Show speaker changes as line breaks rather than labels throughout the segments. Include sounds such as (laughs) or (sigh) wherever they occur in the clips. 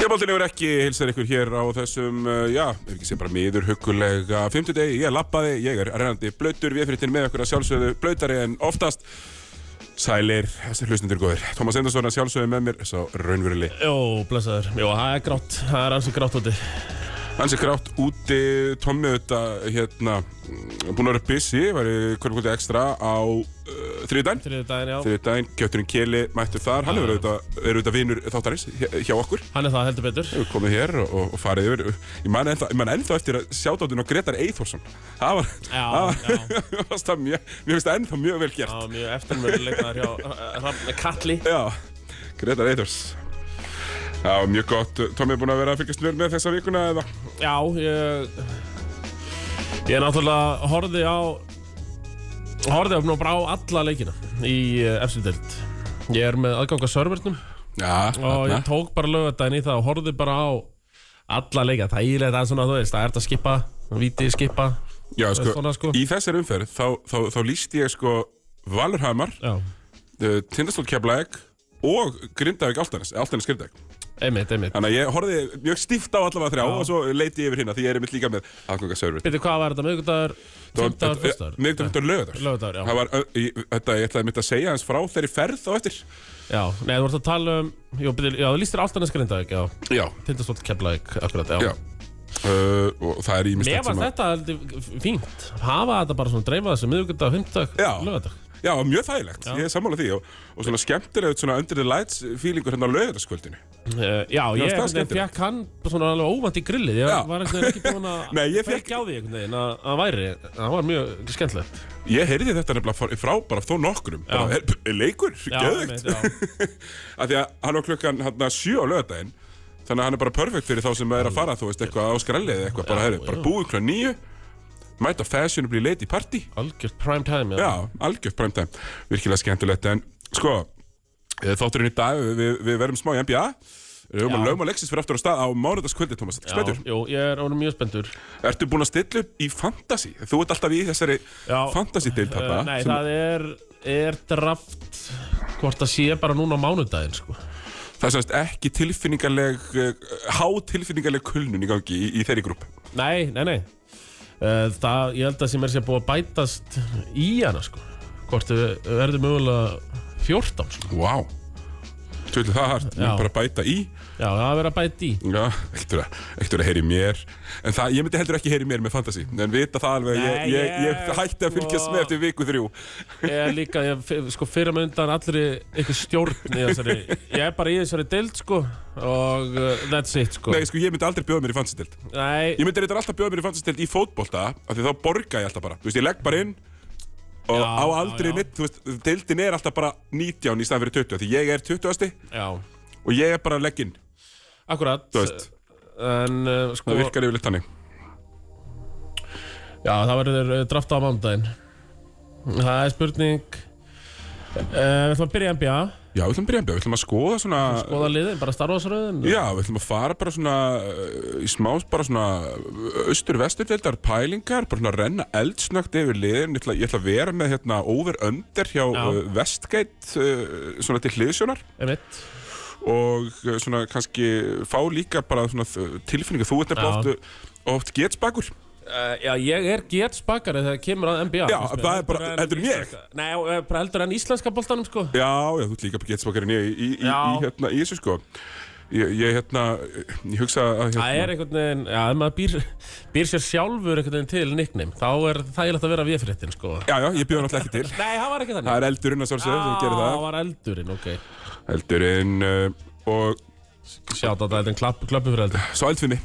Ég bóttin yfir ekki, hilsar ykkur hér á þessum, uh, já, ef ekki sé bara miður huggulega fimmtudegi, ég lappaði, ég er reynandi blöytur, við fyrirtin með ykkur að sjálfsögðu blöytari en oftast sælir, þessir hlustundir góðir. Tómas Endarsson að sjálfsögðu með mér, svo raunverili.
Jó, blessaður. Jó, það er grátt. Það er ansið grátt úti.
Hann sé grátt úti, Tommi auðvitað, hérna, mm, búinn að vera busy, var í kvöldkvöldi ekstra á uh, þriðdæn.
Þriðið daginn, já.
Þriðdæn, kjötturinn Keli mættur þar, hann er auðvitað, er auðvitað vinur þáttarins hjá- hjá okkur.
Hann er það heldur betur.
Við komið hér og, og- og farið yfir Ég man ennþá, ég man ennþá eftir að sjátátun á Gretar Eithorsson Það var,
Já,
það
já.
var, (laughs) mér fannst það mjög, mér finnst það ennþá mjög vel
Já,
gert
mjög eftirmjöluleiknaður hjá eh, Rafn Kalli.
Já, Gretar Eithors Já, mjög gott Tommi er búinn að vera að fylgjast vel með þessa vikuna eða
Já, ég... Ég náttúrulega horfði á... Horfði á og brá alla leikina í eh, F-sildelt. Ég er með aðgang að servernum
Já,
og
þarna.
ég tók bara lögadaginn í það og horfði bara á alla leika. Það er ílega það er svona, þú veist, það er þetta að skipa, víti skipa.
Já, sko,
Svona, sko.
í þessari umferð þá, þá, þá lísti ég sko Valurhamar,
Já,
uh, Tindastól Keflæk og Grindavík Altanes, Altanes Grindavík
einmitt, einmitt.
Þannig að ég horfði mjög stíft á allavega þrjá og svo leiti ég yfir hérna því ég er mitt líka með aðganga server
Býttu, hvað var þetta? Miðgudagur, fymtagur, fyrstagur?
Miðvikudagur, lögadagur
Laugardagur, já.
Það var, ö, í- þetta, ég ætlaði mitt að segja hans frá þeirri ferð á eftir
Já, nei, þú vart að tala um Jú, byrju, já, þú lístir alltaf næst grindaðik, já
Já,
Tindastótt keflaðik, akkurat, já,
já uh, Og það er
Mér
ímislegt
fannst þetta heldur fínt Hafa þetta bara svona dreifa þessu miðvikudag, fimmtudag,
Já.
lögadag
Já, mjög þægilegt, ég er sammála því og, og svona skemmtilegt svona under the lights feelingur hérna á lögadagskvöldinu
uh, Já,
fannst
ég
það skemmtilegt.
fekk hann svona alveg óvænt í grillið Ég
Já.
var einhvern veginn ekki búin að
(laughs) Nei, ég fékk-
kveikja á því einhvern veginn að að væri Það var mjög skemmtilegt
Ég heyrði þetta nefnilega frá, frá bara þó nokkrum bara, er, er leikur, geðvegt
einmitt, já.
(laughs) Af því að hann var klukkan hérna sjö á lögadaginn Þannig að hann er bara perfekt fyrir þá sem er að fara, þú veist, eitthvað á skrælið eða eitthvað, bara, heyrðu, bara búið klukkan níu, mæta fashion og bli late í partí.
Algjört prime time, já,
Já, algjört primetime Virkilega skemmtilegt En sko, eh, þátturinn í dag Við, við, við verðum smá í NBA Við höfum
Já.
að lauma Alexis fyrir aftur á stað á mánudagskvöldi, Thomas. Spenntur,
jú, ég er orðin mjög spenntur
ertu búinn að stilla upp í fantasy? Þú ert alltaf í þessari
Já.
fantasy-deild
uh,
þarna.
Nei,
sem-
það er, er draft Hvort það sé bara núna á mánudaginn, sko
Það er semst ekki tilfinningarleg, hátilfinningarleg kulnun í gangi í, í þeirri grúp.
Nei, nei, nei Eh, Það, ég held að sem er sér búið að bætast í hana sko Hvort við verðum mögulega 14 sko.
Vá. Wow. Tvillir það hart, mér
Já.
bara bæta í.
Já, það er verið að bæta í
Já, ekkert verið að- ekkert verið að heyri mér. En það, ég myndi heldur ekki heyri mér með fantasy. En vita það alveg, ég,
Nei,
ég, ég,
ég-
hætti að fylgjast með eftir viku þrjú.
Ég er líka, ég, f- sko fyrir með undan allri ykkur stjórn í þessari Ég er bara í þessari deild sko Og uh, that's it sko
Nei, sko, ég myndi aldrei bjóða mér í fantasy-deild. Ég
Nei,
myndi reyndar alltaf bjóða mér í fantasy-deild í fótbolta, af því þá borga ég alltaf bara. Þú veist, ég legg bara inn og
Já,
á
já,
aldrei
já.
neitt, þú veist, deildin er alltaf bara 19 í staðan fyrir 20, af því ég er 20.
já,
og ég er bara að legginn.
akkurat
Þú veist.
En uh, sko,
Það virkar yfirleitt þannig.
já, það verður eh, draft á mánudaginn Það er spurning uh, Við ætlum að byrja í NBA
Já, við ætlum að byrja að byrja, við ætlum að skoða svona...
Skoða liðin, bara starfasröðin
Já, við ætlum að fara bara svona uh, í smás bara svona eh, austur-vestur-deildar pælingar, bara svona renna eldsnögt yfir liðin, ég ætla, ég ætla að vera með hérna over-under hjá
Já.
uh, Westgate uh, svona til hliðsjónar
Einmitt
og uh, svona kannski fá líka bara svona þ- tilfinningu þú ert
Já.
nefnilega oft, eh, oft getsbakur
Uh, já, ég er get spakari þegar kemur að NBA
Já,
finnst mér.
það er bara-
en
heldur en ég?
íslenska- Nei, og, eh, bara heldur en íslenska boltanum, sko
já, já, þú ert líka getsbakarinn í, í, í, í,
Já.
hérna, í þessu sko ég, ég hérna, ég hugsa að hérna,
Það er einhvern veginn, já, ef maður býr, býr sér sjálfur einhvern veginn til nickname Þá er þægilegt að vera viðfréttin, sko
já, já, ég bjóð náttúrulega ekki til
Nei, það var ekki þannig
það er eldurinn að sjálfsögðu sem gerir
það
það
var eldurinn, ok
eldurinn uh, og
Sjátt að það er klapp, klappu fyrir eldur
svo eldfinni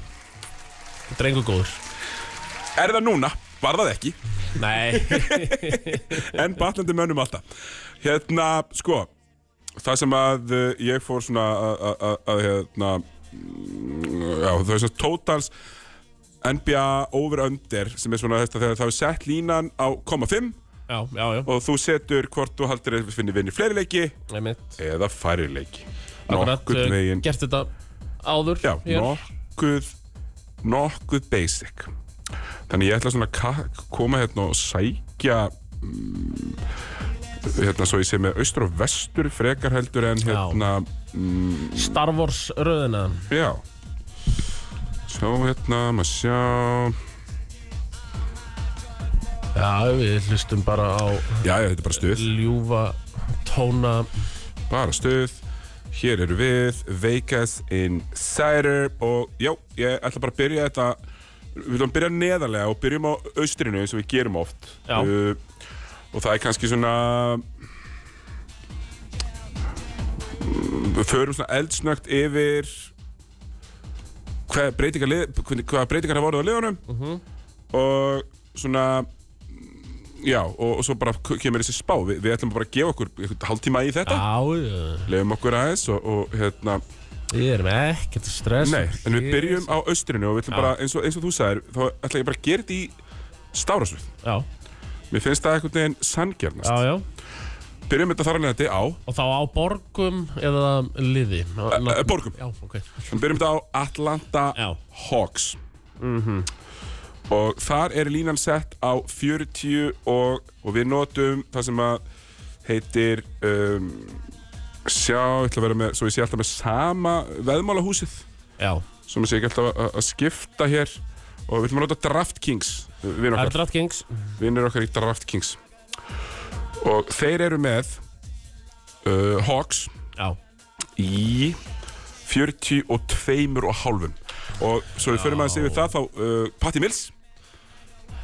Drengu góður
er það núna, var það ekki
Nei,
en batlandi mönnum alltaf hérna, sko það sem að uh, ég fór svona að- að- að að, hérna mm, já, það er svona totals NBA over under sem er svona þetta þegar það er sett línan á 0,5
já, já, já,
og þú setur hvort þú haldir að finni vinni fleiri leiki
einmitt
eða færri leiki
Akkurat,
nokkuð
eh,
veginn
gert þetta áður
já,
hér.
nokkuð nokkuð basic Þannig ég ætla svona að ka- koma hérna og sækja mm, hérna svo ég sé með austur og vestur frekar heldur en hérna
Star Wars röðina
já, sjá hérna maður sjá
Já, við hlustum bara á
já, já, þetta er bara stuð,
ljúfa tóna
bara stuð hér eru við, Vegas Insider og já, ég ætla bara að byrja þetta við viljum byrja neðarlega og byrjum á austrinu eins og við gerum oft Uh,
Já.
og það er kannski svona við mm, förum svona eldsnögt yfir hvað breytingar, lið- hvernig- hvaða breytingar hafa orðið á liðunum og svona já, og, og svo bara k- kemur þessi spá Vi, við ætlum bara að gefa okkur einhvern hálftíma í þetta
Já, já,
lefum okkur aðeins og, og hérna
við erum ekkert að stressa
nei, en við byrjum á austrinu og við ætlum
Já.
bara, eins og, eins og þú sagðir þá ætla ég bara að gera þetta í stárasvið
Já,
mér finnst það einhvern veginn
já,
sanngjarnast
já
byrjum þetta þar alveg þetta á
Og þá á borgum eða liði
Ä- ä, eh, borgum.
Já, ok
En byrjum þetta á Atlanta
Já. Mhm.
Hawks Og þar er línan sett á 40 og, og við notum það sem að heitir um, Sjá, ég ætla að vera með Svo ég sé alltaf með sama veðmálahúsið
Já,
Svo maður sé ekki alltaf að, að skipta hér Og við ætlum að nota DraftKings Vinnir
það er
okkar,
DraftKings
vinnir okkar í DraftKings Og þeir eru með uh, Hawks
Já,
í 42 og hálfum og svo við förum aðeins yfir það þá uh, Patti Mills,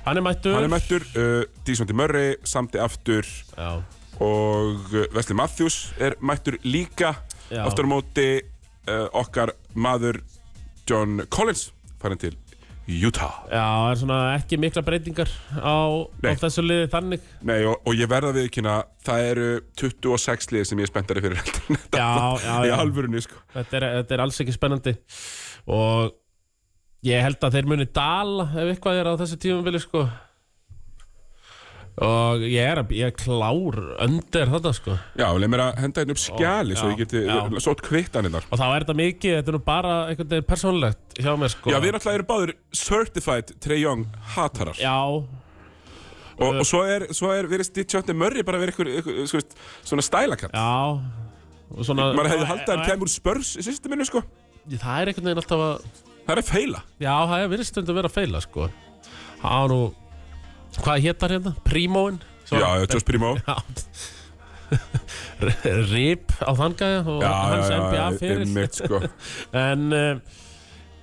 hann er mættur
hann er mættur uh, Dísvandi Murray, samti aftur
Já,
og uh, Wesley Matthews er mættur líka
Já.
aftur á móti uh, okkar maður John Collins farin til Utah
já, það er svona ekki mikla breytingar á, á
Nei.
þessu liði þannig
Nei, og, og ég verða við ekki hérna það eru 26 liðir sem ég er spenntari fyrir heldur en þetta.
Já, já,
í
já
alvörunni sko
þetta er, þetta er alls ekki spennandi og ég held að þeir muni dala ef eitthvað er á þessu tímabili sko og ég er, að- ég er klár öndir þetta sko
Já, leið mér að henda einn upp skjali svo
já,
ég geti
já.
sótt kvittanirnar
og þá er þetta mikið, þetta er nú bara einhvern veginn persónlegt hjá mér sko
Já, við náttúrulega erum báður certified Trey Young hatarar
Já,
og, og svo er, svo er verið Stitchjótti Murray bara verið ykkur, ykkur sko, veist, svona stælakant
já og svona
maður hefði haldið að hann
Æ,
kemur úr spörs í systeminu sko
Það er einhvern veginn alltaf að
það er að feila
Já, það er verið stundum að vera að feila sko Það er nú Hvað hétar hérna? Prímóin?
Já, já, Josh Primo Já,
(laughs) Rip á þangæja og hans
já,
NBA
já,
fyrir
einmitt,
(laughs)
sko
En uh,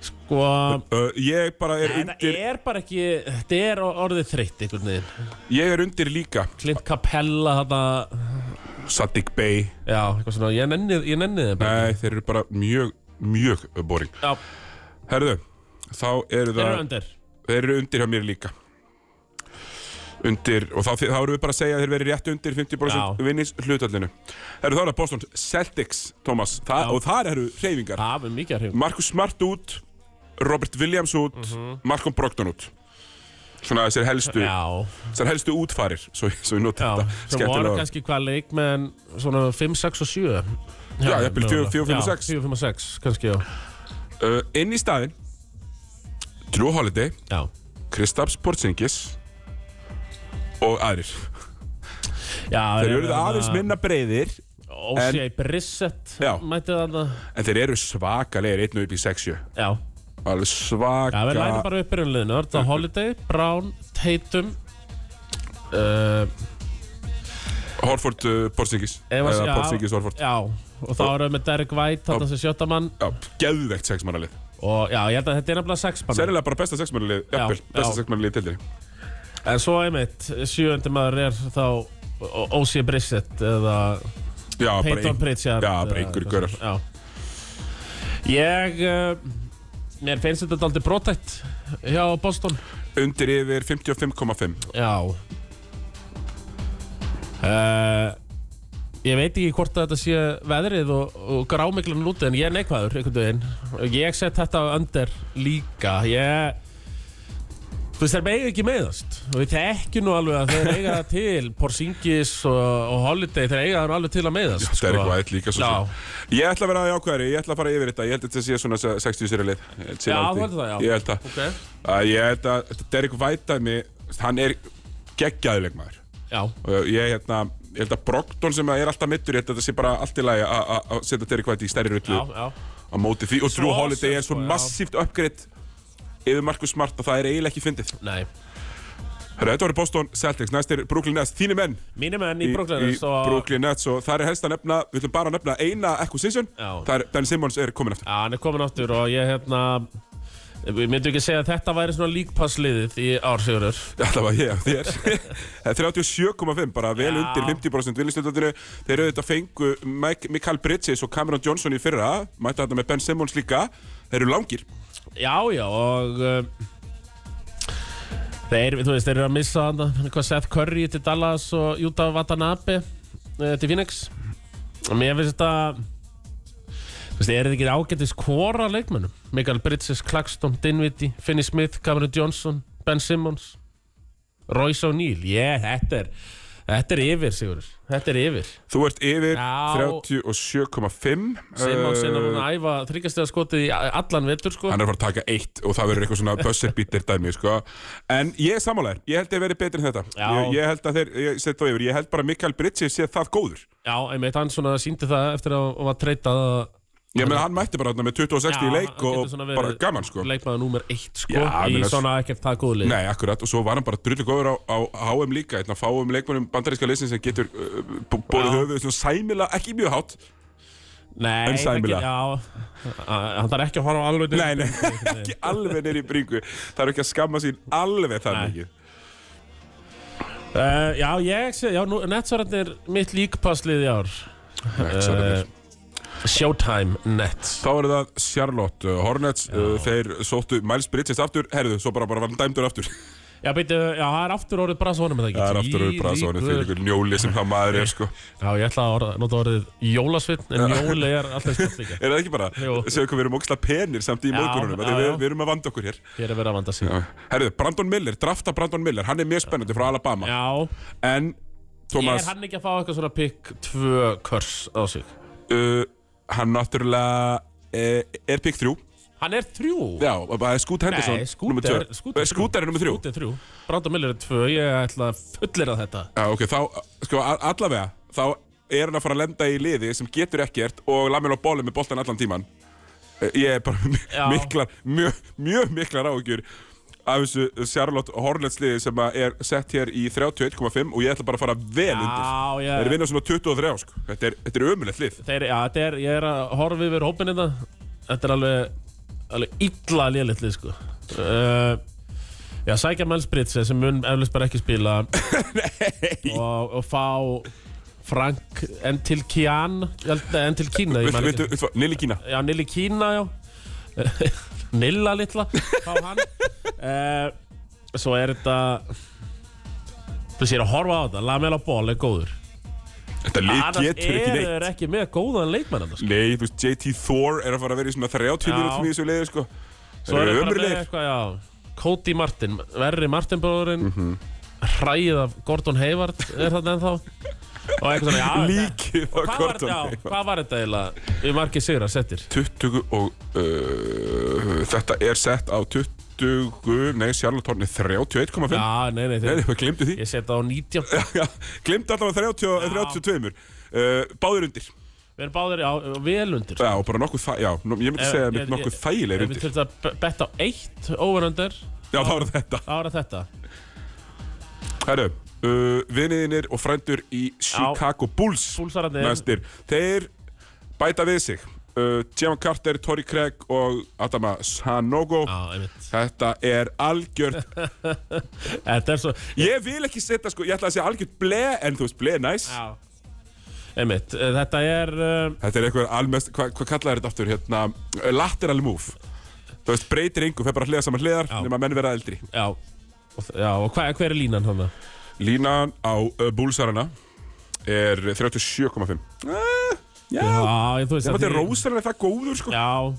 sko
uh, Ég bara er
Þetta
undir
er bara ekki Þetta er orðið þreytt einhvern veginn
Ég er undir líka
Clint Capella þetta
Sadik Bey
Já, eitthvað svona Ég nenni, ég nenni það bara
Nei, þeir eru bara mjög, mjög boring
Já,
Herðu, þá eru
þeir
það
eru öndir
Þeir eru undir hjá mér líka Undir, og þá, þá erum við bara að segja að þeir veri rétt undir 50%
Já.
vinnins hlutallinu Þeir eru þá er það Boston Celtics, Thomas Þa,
Já.
Og þar eru hreyfingar
Það er mikið að hrjum
Marcus Smart út, Robert Williams út Malcolm Brogdon út Svona þessir helstu,
Mhm. Já,
þessir helstu útfarir Svo, svo ég noti
já,
þetta
sem voru
skemmtilega orð.
kannski hvað leik með svona 5, 6 og 7
Já, jafnvel 4, 5 og 6.
4, 5 og 6, kannski, já
uh, Inn í staðinn Drew Holiday,
Já,
Kristaps Porzingis Og aðrir
já uh,
Þeir eru aðeins minna breyðir
Ósíði Brissett
Já.
mætti þarna
En þeir eru svakalegir einn og upp í 60
Já,
Alveg
já
svaka
við lænum bara upp byrjunliðinu Það er þetta Holiday, Brown, Tatum uh,
Horford uh, Porzingis
Eva-
Eða
já.
Porzingis Horford
Já, og þá erum við með Derek White Þarna sem sjötta mann
Já, geðveikt sexmannalið
Og já, ég held að þetta er nefnilega sex mann
Sennilega bara besta sexmannalið
Já,
jafnvel, Besta
já.
sexmannalið til þeirri
En svo einmitt, sjöundi maður er þá Ósíði Brissett eða
Já, bara
Peyton
ein-
Pritchard
Já, bara
eða
einhverjir
eitthvað
görar
svona. Já Ég uh, Mér finnst þetta aldrei brotætt hjá Boston
Undir yfir 55,5
Já uh, Ég veit ekki hvort að þetta sé veðrið og, og grámiklan lúti en ég er neikvæður einhvern veginn Ég set þetta undir líka Ég Þú veist, þeir megi ekki meiðast og við tekjum nú alveg að þeir eiga það til Porzingis og, og Holiday, þeir eiga það nú alveg til að meiðast
Það er eitthvað eitt líka svo
Sko. Já.
sem Ég ætla að vera aðeins ákveðari, ég ætla að fara yfir þetta Ég held að þetta sé svona 60 sér að lið Ég held sé
Já,
nálægt
þú
því.
heldur það, já.
Ég held að
Ok.
að Ég held að þetta Derek Vætæmi Hann er geggjaðileg maður
Já,
Og ég, hérna, ég held að Brogdon sem er alltaf mittur Ég held að þetta sé bara allt í lagi að- að að setja Derek Vætæmi í stærri rullu
já, já
Á móti því Og Drew
Svo-
Holiday er
svo-
svo
já.
massíft uppgreitt Yfir Markus Smart og það er eiginlega ekki fyndið
Nei,
Hörru, Þetta voru Boston Celtics, næst er Brooklyn Nets Þínu menn
mínir menn í Brooklyn
í
Nets og-
Brooklyn Nets og það er helst að nefna, við ætlum bara að nefna eina acquisition,
Já.
það er Ben Simmons er komin aftur.
Já, hann er komin aftur og ég hérna Ég myndi ekki segja að þetta væri svona líkpassliðið í ár, Sigurður
Alltaf að ég og þér.
(laughs)
Það er 37,5, bara vel
Já.
undir 50% viljastöldatinu. Þeir eru þetta fengu Mike, Mikael Bridges og Cameron Johnson í fyrra, mæta þetta með Ben Simmons líka. Þeir eru langir.
Já, já, og um, Þeir, þú veist, þeir eru að missa þarna, hvað Seth Curry til Dallas og Utah Watanabe uh, til Phoenix og mér finnst þetta Þú veist, er þetta ekki ágættis hvora leikmönnum? Mikael Bridges, Claxton, Dinwiddie, Finney Smith, Cameron Johnson, Ben Simmons Royce O'Neal, yeah, þetta er Þetta er yfir, Sigurður, þetta er yfir
Þú ert yfir
Já.
37,5.
Simons er
Eh,
núna að æfa þryggastegja skotið í allan vettur sko
Hann er að fara að taka eitt og það verður eitthvað svona buzzer beater dæmi, sko. En ég er sammálaður, ég held að þeir verið betri en þetta.
Já.
Ég, ég held að þeir, ég set þá yfir, ég held bara að Mikael Bridges sé það góður.
Já, einmitt, hann svona síndi það eftir að hann var treytað að
Ég meina, hann mætti bara þarna með 20 og 60 í leik
hann
og
getur svona verið
bara gaman, sko.
Leikmaður númer eitt sko
Já, ég
í
meina-
svona ekkert það góð leik
Nei, akkurat, og svo var hann bara drullu góður á, á HM líka, þannig að fáum leikmönnum bandaríska leysin sem getur uh, bóðið
Já.
höfuð svona sæmila, ekki mjög hátt.
Nei,
En
það ekki,
sæmilega.
já, að- hann þarf ekki að horfa á alveg
Nei,
(laughs)
nei, ekki alveg neyri í bringu. Það er ekki að skamma sín alveg það
Nei.
mikið.
uh, Já, ég sé, já, nú- Netsvararnir er mitt líkpasslið í ár
Nei, sannarlega.
Eh. Showtime Nets
Þá eru það Charlotte uh, Hornets, uh, þeir sóttu Miles Bridges aftur, herðu, svo bara, bara var hann dæmdur aftur. (laughs)
Já, beitu, já, það er aftur orðið brasónum
Það er aftur að vera svo hann fyrir ykkur njóli sem það maður er, sko.
Já, ég ætla að orða, nota orðið jólasvinn en jóli er alltaf stótt líka
Er það ekki bara?
(laughs) Jú.
Sjáum hvað við erum ógislega penir samt í
Já,
móðgununum,
já,
við,
já.
við erum að vanda okkur hér.
Hér er verið að vanda sig
Já. Herðu, Brandon Miller, drafta Brandon Miller Hann er mjög spennandi frá Alabama
Já,
En, Thomas,
er
hann...
hann ekki að fá eitthvað svona pick 2 kurs á sig?
Uh, hann náttúrulega er, er pick 3
Hann er 3
Já, það er Scoot Henderson
Nei,
númer tvö.
skúter
Eh, Scoot er nummer 3
Skúter 3 Brandon Miller er 2 Ég ætla að fullir að þetta
Já, ok, þá, sko, a- allavega Þá er hann að fara að lenda í liði sem getur ekkert Og lamil á bóli með boltan allan tíman Ég er bara (laughs)
Já.
miklar, mjög, mjög miklar áhugjur af þessu Charlotte Hornets liði sem að er sett hér í 31,5 og ég ætla bara að fara vel undir
Já,
Það er
ég
vinna svona 23 sko. Þetta er, þetta er ömulegt lið.
Þeir, já, þetta er Ég er að horfa yfir hópin þetta Þetta er alveg Alveg illa lélitlið, sko uh, Já, sækja Miles Bridges sem mun eflust bara ekki spila
(laughs)
og, og fá Frank Entilkian Entilkina, ég
Viltu-
maður
viltu- viltu fá- Nili Kína.
Já, Nilli Kína, já (laughs) Nilla litla Fá hann uh, Svo er þetta Þú veist, ég er að horfa á þetta Lamela Ból er góður
Þetta lið getur ekki
eru
neitt.
þeir ekki með góðan sko. leikmenn annars.
Nei, þú veist, JT Thor er að fara að vera í svona 30
Já.
mínútum í þessu liði sko.
Svo
Þetta eru
er þetta með
ömurlegir.
eitthvað, já Cody Martin, verri Martin bróðurinn
Mhm.
Hræið af Gordon Hayward Er þetta ennþá Og eitthvað svona, já þetta-
Líkið á
Hvað var, þetta, já,
kortum.
hvað var þetta eiginlega Við margir sigra settir
20 og uh, þetta er sett á 20, nei, Charlotte Horn er 31,5. Nei,
Já, nei,
Nei,
nei, þeir,
hvað glemdu því?
ég set það á 19
(laughs) Glemdu alltaf að 30, og- 32. Uh, báðir undir.
Við erum báðir, já, vel undir
Já, og bara nokkuð það, já, nú- ég myndi segja
Ef-
mitt
ef-
nokkuð
ef-
þægilegir
Ef við
undir.
þurfum að be- betta á eitt over-under
Já, þá er þetta.
þá er það þetta
Herru, uh, viniðinir og frændur í Chicago Bulls
Búlsarandi
næstir. Þeir bæta við sig. Uh, Jim Carter, Torrey Craig og Adama Sanogo.
Já, einmitt
Þetta er
(laughs)
algjört,
Þetta er svo
ég vil ekki setja sko, ég ætla að segja algjört ble, en þú veist ble, næs.
Já Einmitt, eh, þetta er uh,
Þetta er eitthvað almest, hvað hva kallaði þetta aftur, hérna, uh, lateral move. Þú veist, breytir engu, fer bara að hliða saman hliðar,
Já.
nema menn vera eldri.
Já Og þ- Já, og hva, hver er línan hann?
Línan á uh, búlsarana er 37,5. Eh, já,
Já, ég, þú veist
Nefnum
að
þetta er
því-
rósarinn er það góður sko
Já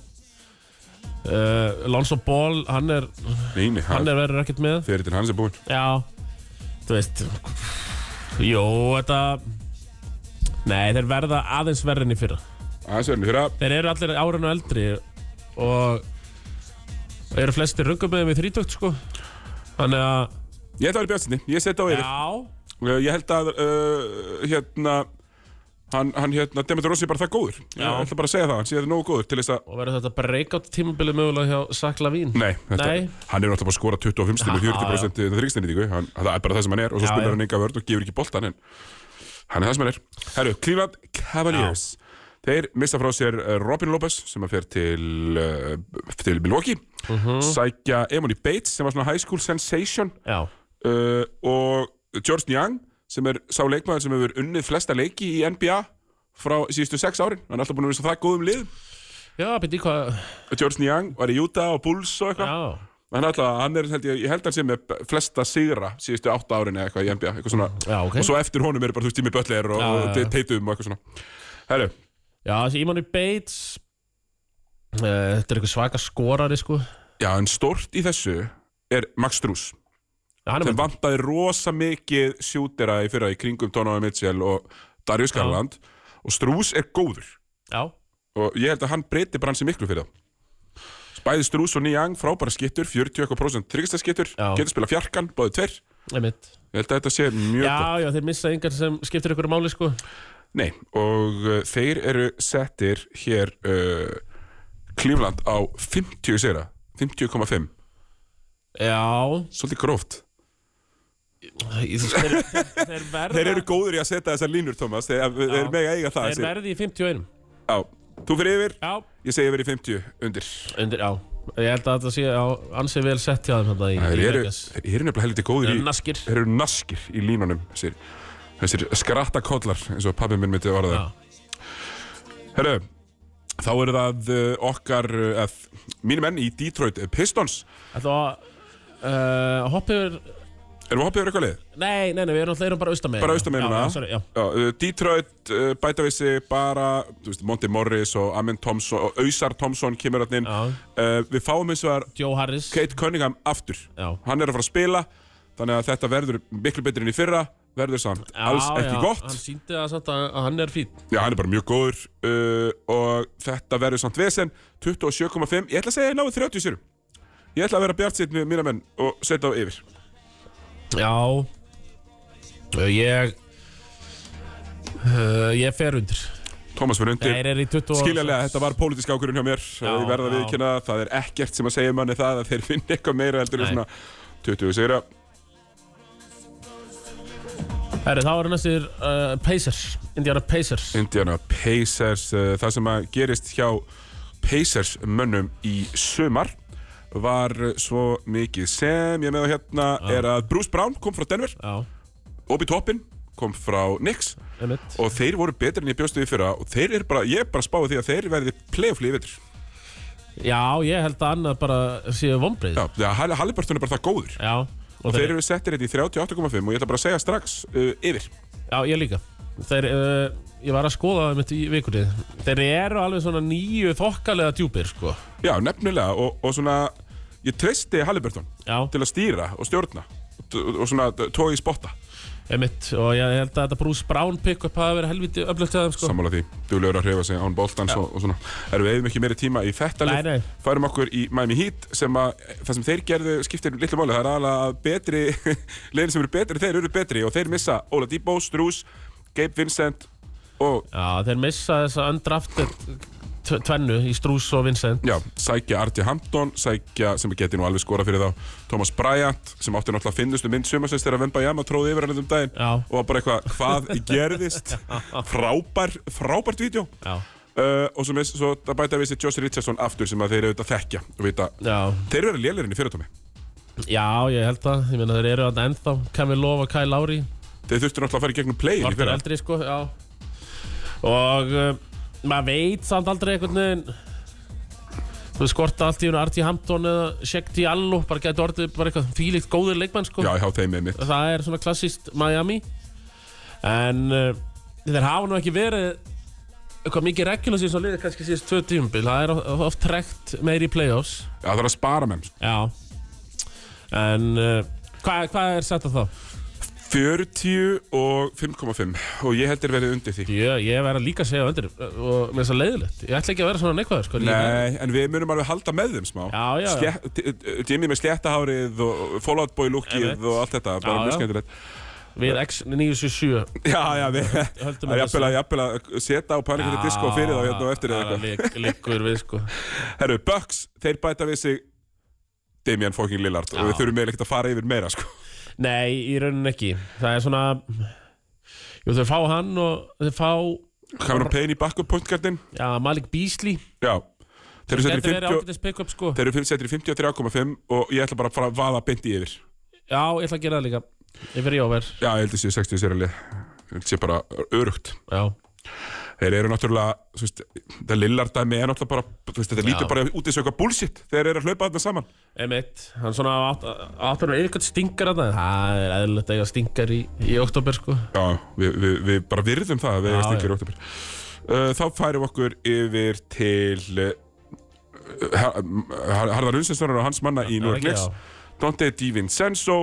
uh, Lonzo Ball, hann er,
Nei, nei,
hann
hann
er verður ekkert með
Þegar þetta er hans er búinn
Já, þú veist Jó, þetta Nei, þeir verða aðeins verri enn í fyrra
Aðeins verðin fyrir að
Þeir eru allir árinu eldri og og eru flestir rungumöðum í þrítökt sko Þannig að
Ég ætla að vera bjartsinni, ég setja á yfir
Já,
Uh, Ég held að uh, hérna hann, hann hérna, Demeter Rossi er bara það góður Ég
Já.
ætla bara að segja það, hann sé það nógu góður til þess að
og verður þetta breakout tímabilið mögulega hjá Sakla Vín
Nei, þetta,
Nei.
hann er náttúrulega bara að skora 25 stíl og
Já,
40% ja. þryggstinni eh, hann, það er bara það sem hann er og svo
Já,
spilar
já.
hann enga vörð og gefur ekki boltan en hann er það sem hann er Herru, Cleveland Cavaliers þeir missa frá sér eh, Robin Lopez sem að fer til, eh, til Milwaukee
Mhm.
sækja Emoni Bates sem var svona high school sensation
Já,
uh, og George Niang sem er sá leikmaður sem hefur unnið flesta leiki í NBA frá síðustu sex árin hann er alltaf búin að vera svo það góðum lið
já, byrja í hvað
George Niang var í Utah og Bulls og eitthvað
Já,
hann er alltaf, hann er, held ég, ég held hann sé með flesta sigra síðustu átta árin eða eitthvað í NBA eitthvað svona,
já, ok
og svo eftir honum eru bara, þú veist, Jimmy Butler og,
Já, já,
og
já.
te- Tatum og eitthvað svona Herru,
Já, þessi Ímanu Bates eh, Þetta er eitthvað svaka skorari sko
já, en stórt í þessu er Max Struz
Hann er
sem vantaði rosa mikið sjútera í fyrra í kringum Donovan Mitchell og Darius
Já.
Garland og Struz er góður
Já,
og ég held að hann breyti bara hansi miklu fyrir það Bæði Strús og Niang frábæra skittur 40% tryggastaskittur,
Já.
getur spila fjarkan báði tver,
einmitt
ég held að þetta sé mjög gott.
Já, já, þeir missa engar sem skiptir ykkur máli sko
Nei, og uh, þeir eru settir hér uh, Cleveland á 50 sera 50,5,
Já,
svolítið gróft
Ég- þeir, þeir verða
Þeir eru góður í að setja þessar línur, Thomas þeir, eh, þeir eru mega eiga það
þeir
þessi-
verði í 51
Já, Þú fyrir yfir,
já,
ég segi yfir í 50 undir
undir, já ég held að þetta sé á ansið vel sett hjá þeim þetta í,
Þeir
í
eru,
Vegas.
þeir eru nefnilega helviti góðir
Þeir eru
í
naskir
Þeir eru naskir í línunum Þessir, þessir skrattakollar eins og pabbi minn myndi orða
já,
það Herru, þá eru það uh, okkar uh, að, Mínu menn í Detroit Pistons
ætlum að uh, hoppa yfir
Erum við hoppið yfir eitthvað lið?
nei, nei, nei, við erum alltaf erum bara austan með
Bara austan megin núna.
já, sorry, já,
Já, uh, Detroit uh, bæta við sig bara þú veist, Monty Morris og Amin Thompson og Ausar Thompson kemur hann inn
Já.
uh, Við fáum eins og að
Joe Harris
Kate Cunningham aftur
já,
Hann er að fara að spila Þannig að þetta verður miklu betri enn í fyrra Verður samt alls
já,
ekki
já,
gott
hann síndi það samt að, að hann er fín
Já, hann er bara mjög góður uh, og þetta verður samt vesen 27,5, ég ætla að segja að ég náðu 30 sérum Ég ætla að vera bjart sitt með mína menn og setja á yfir
já Uh, ég uh, ég fer undir
Tómas fyrir undir,
þeir eru í 20 og-
skiljanlega, þetta var pólitísk ákvörðun hjá mér já, Ég verða
Sko, já.
við ekki hana, það er ekkert sem að segja manni það að þeir (laughs) finna eitthvað meira heldur en
Nei.
svona 20 sigra
Herri, þá eru næstir uh, Pacers Indiana Pacers
Indiana Pacers uh, það sem að gerist hjá Pacers mönnum í sumar var uh, svo mikið sem ég er með á hérna er að Bruce Brown kom frá Denver
Já,
Obi Toppin kom frá Knicks
einmitt
og þeir voru betri en ég bjóstu við fyrra og þeir eru bara, ég er bara spáði því að þeir verði playoff-lið veitur.
Já, ég held að annað bara séu vombrið
Já, já Hall- Halliburton er bara það góður
Já,
og þeir eru settir þetta í 38,5 og ég ætla bara að segja strax uh, yfir.
Já, ég líka Þeir, uh, ég var að skoða það mitt í vikunni Þeir eru alveg svona nýju þokkalega djúpir, sko
Já, nefnilega og, og svona, ég treysti Halliburton
Já,
til að stýra og stjórna og, og svona tói í spotta
einmitt Og ég held að þetta Bruce Brown pick-up hafa verið helviti öflugt til þeim, sko
sammála því, duðlegur að hrefa sig án boltans og, og svona, erum við eigum ekki meiri tíma í þetta
Nei,
lið,
nei.
færum okkur í Miami Heat sem að, það sem þeir gerðu skiptir litlu máli, það er aðalega að betri (laughs) leiðin sem eru betri, þeir eru betri og þeir missa Óla Dibó, Strús, Gabe Vincent og,
Já, þeir missa þessa undrafted tv- tvennu í Strús og Vincent
já, sækja Arti Hampton, sækja, sem geti nú alveg skora fyrir þá, Thomas Bryant sem átti náttúrulega að um finnustu mynd sumarsins þegar Vemba Jama tróði yfir hann um daginn
Já.
og var bara eitthvað, hvað gerðist frábær, frábært vídeo
Já,
Uh, og svo, mis, svo að bæta við sér Josh Richardson aftur sem að þeir eru auðvitað þekkja og vita,
já,
þeir eru lélirinn í fyrirtómi
já, ég held að Ég meina þeir eru að ennþá Kevin Love og Kyle Lowry
þeir þurftu náttúrulega að fara í gegnum playin í
Orðin
fyrra
eldri sko, já Og uh, maður veit samt aldrei einhvern veginn Þú veist hvort allt í hún Arti Hampton eða Shaq Diallo bara gæti orðið bara eitthvað fílíkt góður leikmann sko
já, hjá þeim með mitt
Það er eh, svona klassíst Miami En uh, þeir hafa nú ekki verið eitthvað mikið regulars í þessu liði kannski síðast tvö tímubil það er of- oft trekt meir í play-offs
Já, það er að spara með þeim, sko.
Já En uh, hvað hva er sett að þá?
40 og 5,5 og ég heldur verið undir því
Jö, ég verð að líka segja á undir uh, og með þess að leiðilegt Ég ætla ekki að vera svona neikvæður sko líka.
Nei, en við munum alveg halda með þeim smá
Já, já, já.
Slétt- t- t- Jimmy með sléttahárið og Fallout Boy
Einmitt.
lookið og allt þetta
Já,
bara mjög
já.
skemmtilegt
Við X977
Já, já, við Það er
Höldum við
jafnvel að- jafnvel að setja á panikandi disco fyrir þá hérna og eftir eða eitthvað
eitthvað Liggur við sko
Herru, Bucks, þeir bæta við sig Damian fucking Lillard og við þurfum eiginlega ekkert að fara yfir meira sko
Nei, í rauninni ekki Það er svona Jú, þau fá hann og þau fá
Cameron Payne í backup pointgardin
Já, Malik Beasley
Já, þeir eru
Þetta
settir í
verið
50
ágætis pick-up sko
Þeir eru fyrir- settir í 53,5 og ég ætla bara að fara að vaða beint í yfir
Já, ég ætla að gera það líka Ég fyrir í over
Já, ég held að sé 60 sér alveg Ég held að sé bara örugt
Já,
Þeir eru náttúrulega, þú veist, það lillardæmi er náttúrulega bara, þú veist, þetta lítur bara út eins og eitthvað bullshit þegar þeir eru að hlaupa þarna saman.
M1 Hann svona áttur með eitthvað stingar að það Það er eðlilegt að eiga stingar í, í oktober sko
Já, við, við, við bara virðum það að við
Já,
erum stingur
já.
í oktober. Uh, þá færum við okkur yfir til uh, Har- Har- Harðar Unsinssonar og hans manna í
það er
Núrk
ekki
Nix, Dante DiVincenzo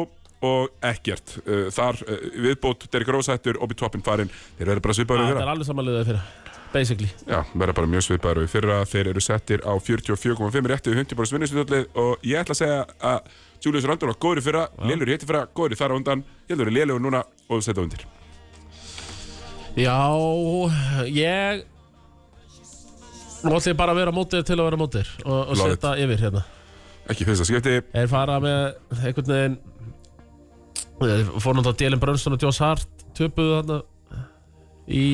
og Ekkert. Uh, þar uh, viðbót Derrick Rose hættur, Obi Toppin farinn, þeir verða bara svipaður
Já,
við
Þetta
þeirra.
er alveg samanlega fyrir Basically
Já, verða bara mjög svipaður við fyrra þeir eru settir á 44,5 réttið 100% vinnustutöldið og ég ætla að segja að Julius Randall var góður í fyrra, lélur hétti fyrra, góður í þar á undan ég heldur að lélugur núna og setja undir
Já, ég Nú ætlum ég bara að vera mótir til að vera mótir og, og
Love
setja yfir hérna
ekki fyrsta skipti,
Er fara með einhvern veginn Þeir fór náttúrulega Dylan Brunson og Josh Hart töpuðu þarna í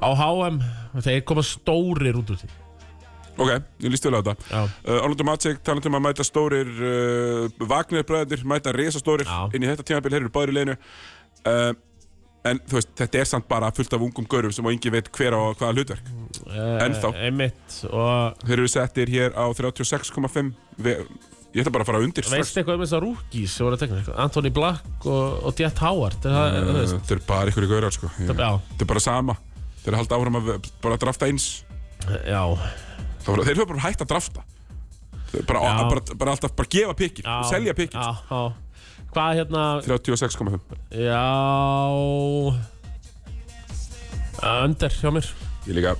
á HM þeir koma stórir út úr því
ok, ég líst vel á þetta
Já,
uh, Orlando Magic talandi um að mæta stórir uh, Wagner bræðir, mæta resastórir
Já.
inn í þetta tímabil, þeir eru báður í leinu uh, en þú veist, þetta er samt bara fullt af ungum görum sem á engi veit hver á hvaða hlutverk Ennþá.
eh, Einmitt og
þeir eru settir hér á 36,5 Við- ég ætla bara að fara undir strax.
veistu eitthvað um þessar rookies sem voru að tekna eitthvað Anthony Black og, og Jet Howard er það, uh, veist,
Þetta er bara ykkur í gaurar sko Ég-
það, já,
Þetta er bara sama Þeir eru að halda áfram að bara drafta eins
já
Það var- Þeir eru bara hægt að drafta Þeir bara,
Já.
að, bara, bara alltaf bara gefa pikir
Já,
Selja pikir
já, já. Hvað hérna
36,5
Já Önder hjá mér
Ég líka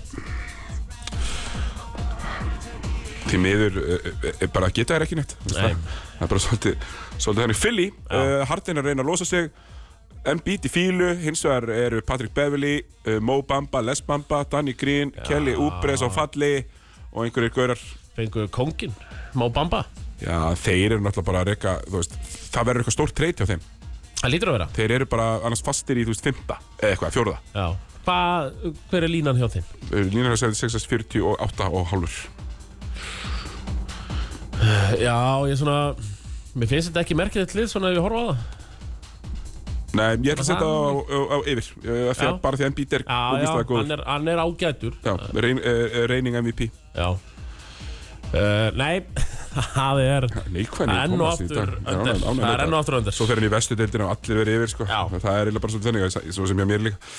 Því miður eh, eh, eh, bara geta þær ekki neitt Þú veist
Nei.
Það það er bara svolítið, svolítið þannig Philly, uh, Harden er að reyna að losa sig Embiid í fílu, hins vegar eru Patrick Beverly, uh, Mo Bamba, Les Bamba Danny Green, Kelly Ubres á falli og einhverjir gaurar
Fengu kóngin Má Bamba
Já, þeir eru náttúrulega bara að reyka, þú veist, það verður eitthvað stórt treyt hjá þeim.
Það lítur að vera
Þeir eru bara annars fastir í, þú veist, fymta, eða eitthvað, fjórða.
Já Hvað, hver er línan hjá þeim?
Línar er segðið 6, 40 og 8 og hálfur.
Já, ég svona Mér finnst þetta ekki merkilegt lið svona ef ég horfa á það
Nei, ég ætla að
Það-
setja á, á, á yfir, eh, af því að
Já.
bara því að Embiid er
Já, já,
útlislega góður.
hann er, hann er ágætur
Já, reyn, uh, reyning MVP.
Já uh, Nei, (laughs) það er
Neikvæðin
Enn og aftur Önder Það er enn og aftur Önder
Svo fer hann í vestu deildina og allir verið yfir, sko.
Já.
Það er eiginlega bara svolítið þannig, að- svo sem ég mér líka.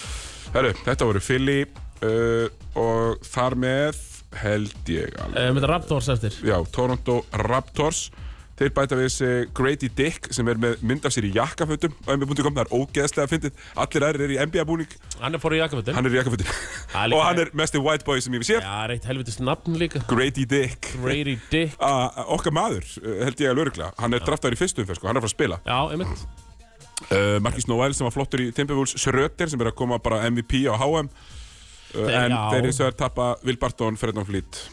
Herru, þetta voru Philly uh, og þar með held ég alveg.
Eh, Með Raptors eftir
já, Toronto Raptors Þeir bæta við sig Grady Dick sem er með mynd af sér í jakkafötum á NBA.com, það er ógeðslega fyndið Allir aðrir eru í NBA búning,
Hann er fór í Jakoböldin
hann er í jakkafötum
Það er líka-
og hann er mesti white boy sem ég við
Já,
sér
það er eitt helvitist nafn líka
Grady Dick
Brady Dick
A, okkar maður, eh, held ég alveg öruglega hann er draftaður í fyrstum sko, hann er að fara að spila
Já, einmitt
uh, Marcus Noel sem var flottur í Timberwolves Schröter sem er að koma bara MVP á HM uh,
Þeir-
en
já.
þeir eins og er tappa Will Barton, Ferdinand Fleet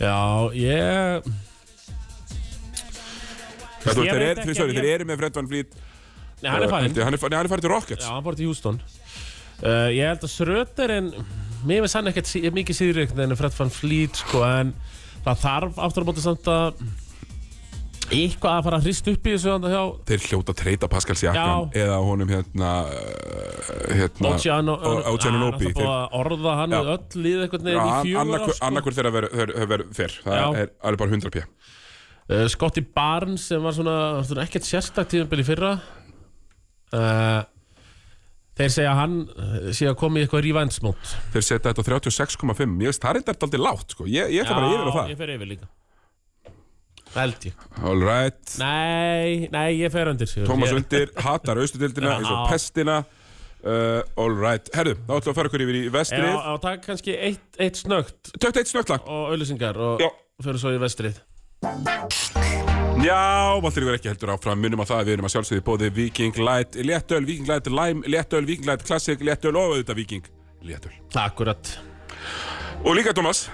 Já, ég
Þú veist,
Ég
þeir
veit
eru-
ekki
sorry,
að ég-
þeir eru með Ferdinand Fleet eh,
Nei, hann er farinn
hann er farið til Rockets
Já, hann fór til Houston uh, Ég held að Schröter en Mér finnst hann ekkert sí, mikið síður einhvern veginn en Fred van Fleet sko en það þarf aftur á móti samt að eitthvað að fara að hrist upp í þessu þannig hjá
þeir hljóta að treyta Paskals jakkan
Já.
eða honum hérna uh, hérna
Oceano
Oceanobi
Það er búið að orða hann við öll lið einhvern veginn í fjögur ár, sko.
annarkur þeirra verður þeir, þeir, þeir fyrr það
Já.
er alveg bara 100 p
uh, Scotty Barnes sem var svona, svona ekkert sérstakt tíðanbili fyrra uh, Eh, Þeir segja að hann eh, sé að koma í eitthvað rívandsmót
Þeir setja þetta á 36,5 Ég veist, það er þetta aldrei lágt sko. Ég, ég ætla bara yfir á það
Ég fer yfir líka Held ég
All right
Nei, nei, ég fer undir Sigur.
Tómas
Ég-
undir, hatar austudildina
Já.
eins og pestina uh, All right, herðu, þá ætlum við að fara okkur yfir í
Já,
vestrið
á takk kannski eitt, eitt snögt
Tökta eitt snögglag
og auðlýsingar og
Já.
fyrir svo í vestrið
Já, Valdur ykkur ekki heldur áfram, minnum að það að við erum að sjálfsögðu bóði Viking Light, Léttöl, Viking Light Lime, Léttöl, Viking Light Classic, Léttöl og auðvitað Viking Léttöl.
Akkurat
Og líka Thomas,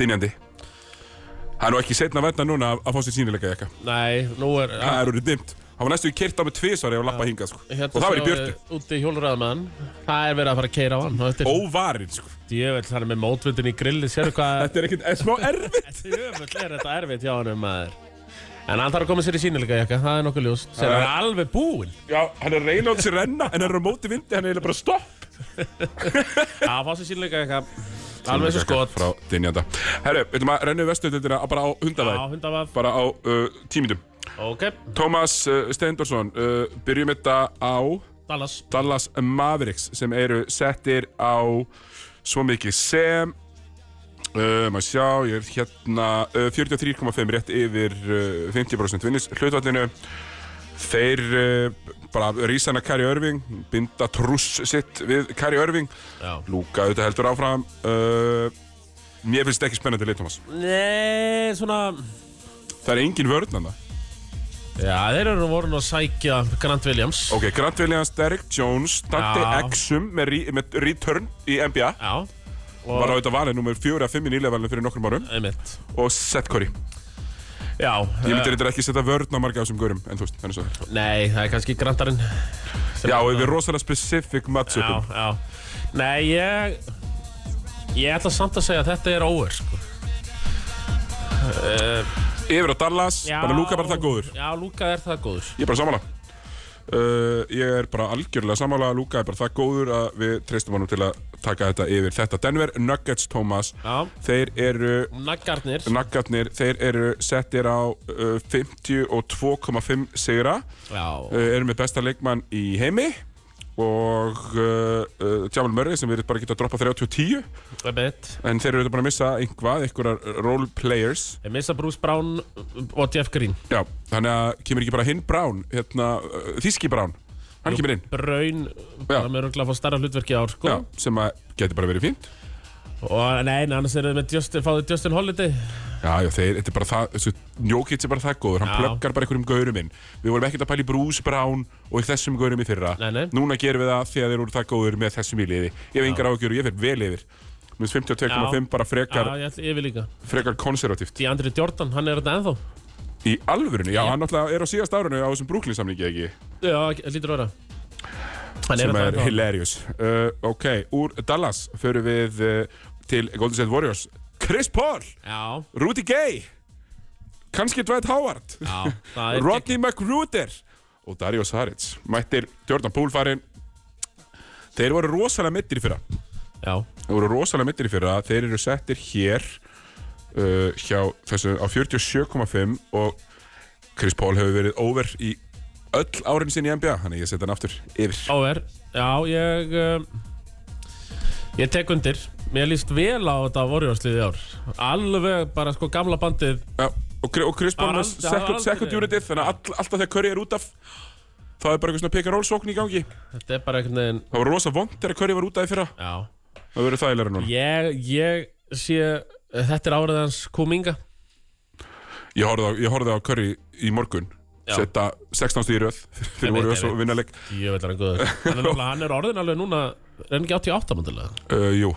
dynjandi Það er nú ekki setna verna núna að, að fá sér sínilega ekka
Nei, nú er
Það er úr dimmt Það var næstu kert á mig tvisar ef að lappa hingað sko.
Hérna
Og það var í
sjáum
björtu
við Úti í hjólræðamann Það er verið að fara að keira á hann og Þetta er
Óvarinn sko.
djöfull, hann er með mótvitin í grilli Sérðu
(laughs)
hvað
Þetta er ekkert er smá
(laughs)
erfitt
Djöfull er þetta erfitt hjá hann um maður En hann þarf að koma sér í sínilega jakka Það er nokkuð ljóst Sér hann er alveg búinn
Já, hann er að reyna út sér renna En hann er á móti vindi, hann er eiginlega bara stopp
Já, fá sér sínilega jakka Alveg svo skot
Frá dynjanda Herru, við ætlum að renna vestöldina bara á
Já,
hundavæð
hundavaf
Bara á uh, tímindum
Ok,
Tómas uh, Steindorsson uh, Byrjum þetta á
Dallas
Dallas Mavericks sem eru settir á svo mikið sem uh, maður sjá, ég er hérna uh, 43,5 rétt yfir uh, 50% vinnis hlutvallinu þeir uh, bara rísana Kari Örving, binda trúss sitt við Kari Örving
Já
Lúka auðvitað heldur áfram uh, mér finnst þetta ekki spennandi leið Thomas
Nei, svona
það er engin vörðn annað
Já, þeir eru voru nú að sækja Grant Williams
ok, Grant Williams, Derek Jones, Dante
Já.
Exum með, re með return í NBA
Já Og
var á þetta valið nummer 4 að 5 í nýlega valinu fyrir nokkrum árum
einmitt
og Seth Curry
Já
ég
eh,
myndi reyndar ekki setja vörn á marga af þessum gaurum en þú veist, þannig svo það er.
Nei, það er kannski Grantarinn
já, og við erum rosalega specific
Já,
matchupum
já Nei, ég Ég ætla samt að segja að þetta er óver sko.
yfir á Dallas, bara Luka bara það góður
Já, Luka er það góður
ég er bara sammála uh, ég er bara algjörlega sammála Luka er bara það góður að við treystum honum til að taka þetta yfir þetta Denver Nuggets Thomas
Já.
þeir eru
Naggarnir
Nuggatnir, þeir eru settir á uh, 52,5 sigra
Já
uh, erum með besta leikmann í heimi og uh, uh, Jamal Murray sem við erum bara að geta að droppa 30 og 10
einmitt
en þeir eru bara að missa einhvað, einhverjar role players
Ég missa Bruce Brown og Jeff Green
Já, þannig að kemur ekki bara hinn Brown hérna, uh, Þíski Brown hann kemur inn,
Braun
Já.
Það með röglega að fá starra hlutverki í ár sko.
Já, sem að geti bara verið fínt
Og nei, nei, annars eru þau með Justin, fáðu Justin Holiday
Já, já, þeir, þetta er bara það, þessu Jókits er bara það góður, hann
Já.
plöggar bara einhverjum gaurum inn Við vorum ekkert að pæla í Bruce Brown og í þessum gaurum í fyrra
Nei, nei.
Núna gerum við það því að þeir eru það góður með þessum í liði Ég hef engar ágjör og ég fyrir vel yfir Minnst 52,5 bara frekar,
Já, ég ætla yfir líka
frekar konservatíft
DeAndre Jordan, hann er þetta ennþá
Í alvörinu? Já,
Já.
hann náttúrulega er á síðast árinu á þessum Brooklyn samlingi, ekki?
Já, lítur að vera Hann er
Sem
þetta
er
ennþá
hilarious. Uh, ok, úr Dallas förum við uh, til Golden State Warriors. Chris Paul,
Já,
Rudy Gay, kannski Dwight Howard,
já, það er
Rodney McRuder og Dario Saric. Mættir Jordan Poole farin. Þeir voru rosalega mittir í fyrra.
gegn- Já,
Þeir voru rosalega mittir í fyrra. Þeir eru settir hér uh, hjá þessu á 47,5 og Chris Paul hefur verið over í öll árin sinni í NBA. Þannig að ég setja hann aftur yfir.
over Já, ég um, Ég tek undir Mér líst vel á þetta vorjóðslið í ár Alveg bara sko gamla bandið
Já, og, Gre- og Chris Paul
Það var
er
aldrei- það var
second,
aldrei-
second unitið þannig að all, alltaf þegar Curry er út af þá er bara eitthvað svona pick and roll sókn í gangi það
Þetta er bara einhvern veginn
var rosa vond þegar Curry var út af í fyrra
Já
það verður þægilega núna
Ég, ég sé Þetta er árið hans kominga
ég horfði á, ég horfði á Curry í morgun
Já.
setja 16 stíð í röð (laughs)
Ég
fyrir
veit,
voru
ég
þess
veit.
og vinnarleik
Ég veit hann góður Hann er, nefnilega- hann er orðin alveg núna Er hann ekki 88 mandilega?
uh, jú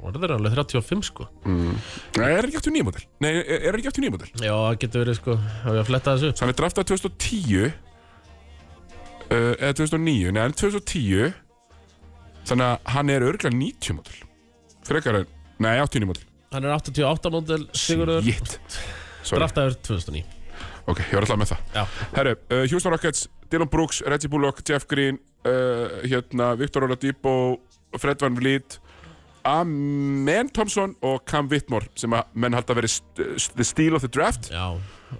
Orðin er alveg 35 sko
Nei, er hann ekki 89 mótel nei, er er hann ekki 89 mótel
Já, það getur verið sko Há ég að fletta þessu upp
hann er draftað 2010 uh, eh, eða 2009 nei, hann er 2010 þannig að hann er örgulega 90 mótel frekar en nei, 89 mótel
Hann er 88 móndel Sigurður
Shit. Sorry.
Draftaður 2009
Ok, ég var alltaf með það
Já,
Herru, uh, Houston Rockets, Dylan Brooks, Reggie Bullock, Jeff Green, uh, hérna, Victor Oladipo, Fred Van Vliet, Amen Thompson og Cam Whitmore sem að menn halda að vera st st the steal of the draft.
já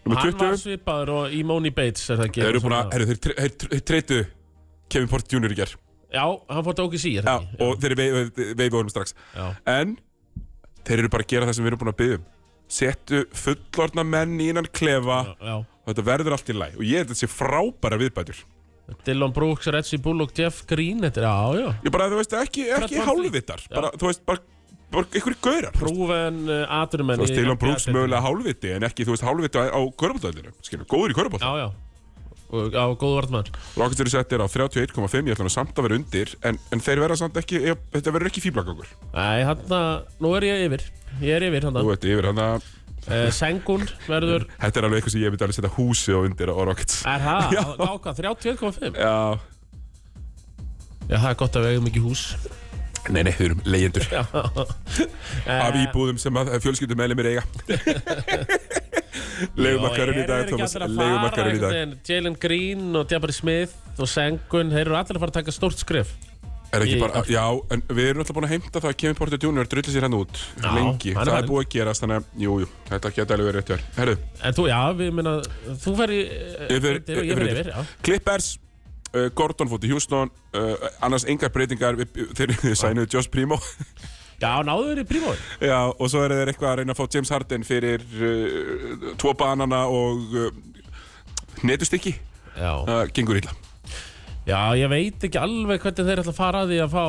Númer
Hann var
20.
svipaður og Imoni Bates er það ekki
Þeir eru búin
Svona-
að, herru, þeir, tre- þeir, tre- þeir treytu Kevin Porter Jr. í gerð.
Já, hann fór tókis í, er
Já,
það ekki?
og þeir veifu honum strax
Já.
En þeir eru bara að gera það sem við erum búin að byggja um Settu fullorna menn í innan klefa
Já, já.
og þetta verður allt í læg og ég held að þetta sé frábæra viðbætur
Dylan Brooks, Reggie Bullock, Jeff Green þetta er, já, já,
Ég bara, þú veist, ekki, ekki
Fred Van Vliet.
hálfvitar bara, þú veist, bara, bara einhverju gaurar þú veist.
prúfen uh, aturumenn
Þú veist, Dylan Brooks mögulega hálfviti en ekki, þú veist, hálfviti á, á körbótaðinu skilur, góður í körbóta
Já, já, og, já, góð vartmann
Lákastur er settir á 31,5, ég ætla hann samt að vera undir en, en þeir verða samt ekki, ég, þetta verður ekki fýblagangur
Nei, hann nú er ég yfir Ég er yfir hann
Þú
uh,
veit, yfir hann að
Sengun verður,
Þetta er alveg eitthvað sem ég myndi alveg setja húsið á undir á Rockets
er það,
Já.
ákvað, 31,5
Já,
Já, það er gott að við eigum ekki hús
nei, nei, þau erum leyendur
Já
af
Af
íbúðum sem að fjölskyldum meðlumir
(laughs)
eiga Legumarkarinn í dag, Thomas Legumarkarinn í dag
Jalen Green og Jabari Smith og Sengun Þeir eru allir að fara að taka stórt skrif
Er ekki
Ég-
bara, já, en við erum alltaf búin að heimta það að Kevin Porter Jr. drullir sér hann út
Já,
lengi,
hann er
það er
farinn.
búið að gerast þannig að, jú, jú, þetta geta alveg verið rétt hjá þér. Herru,
En þú, já, við minna Þú fer í eh,
Yfir-
Ég
yfir-
fer yfir, já
Clippers uh, Gordon fótt í Houston uh, annars engar breytingar, við, þeir sænuðu Josh Primo,
Já, náðu þeir í prímói
já, og svo eru þeir eitthvað að reyna að fá James Harden fyrir uh, tvo banana og uh, netustykki,
Já.
það gengur illa
Já, ég veit ekki alveg hvernig þeir ætla að fara að því að fá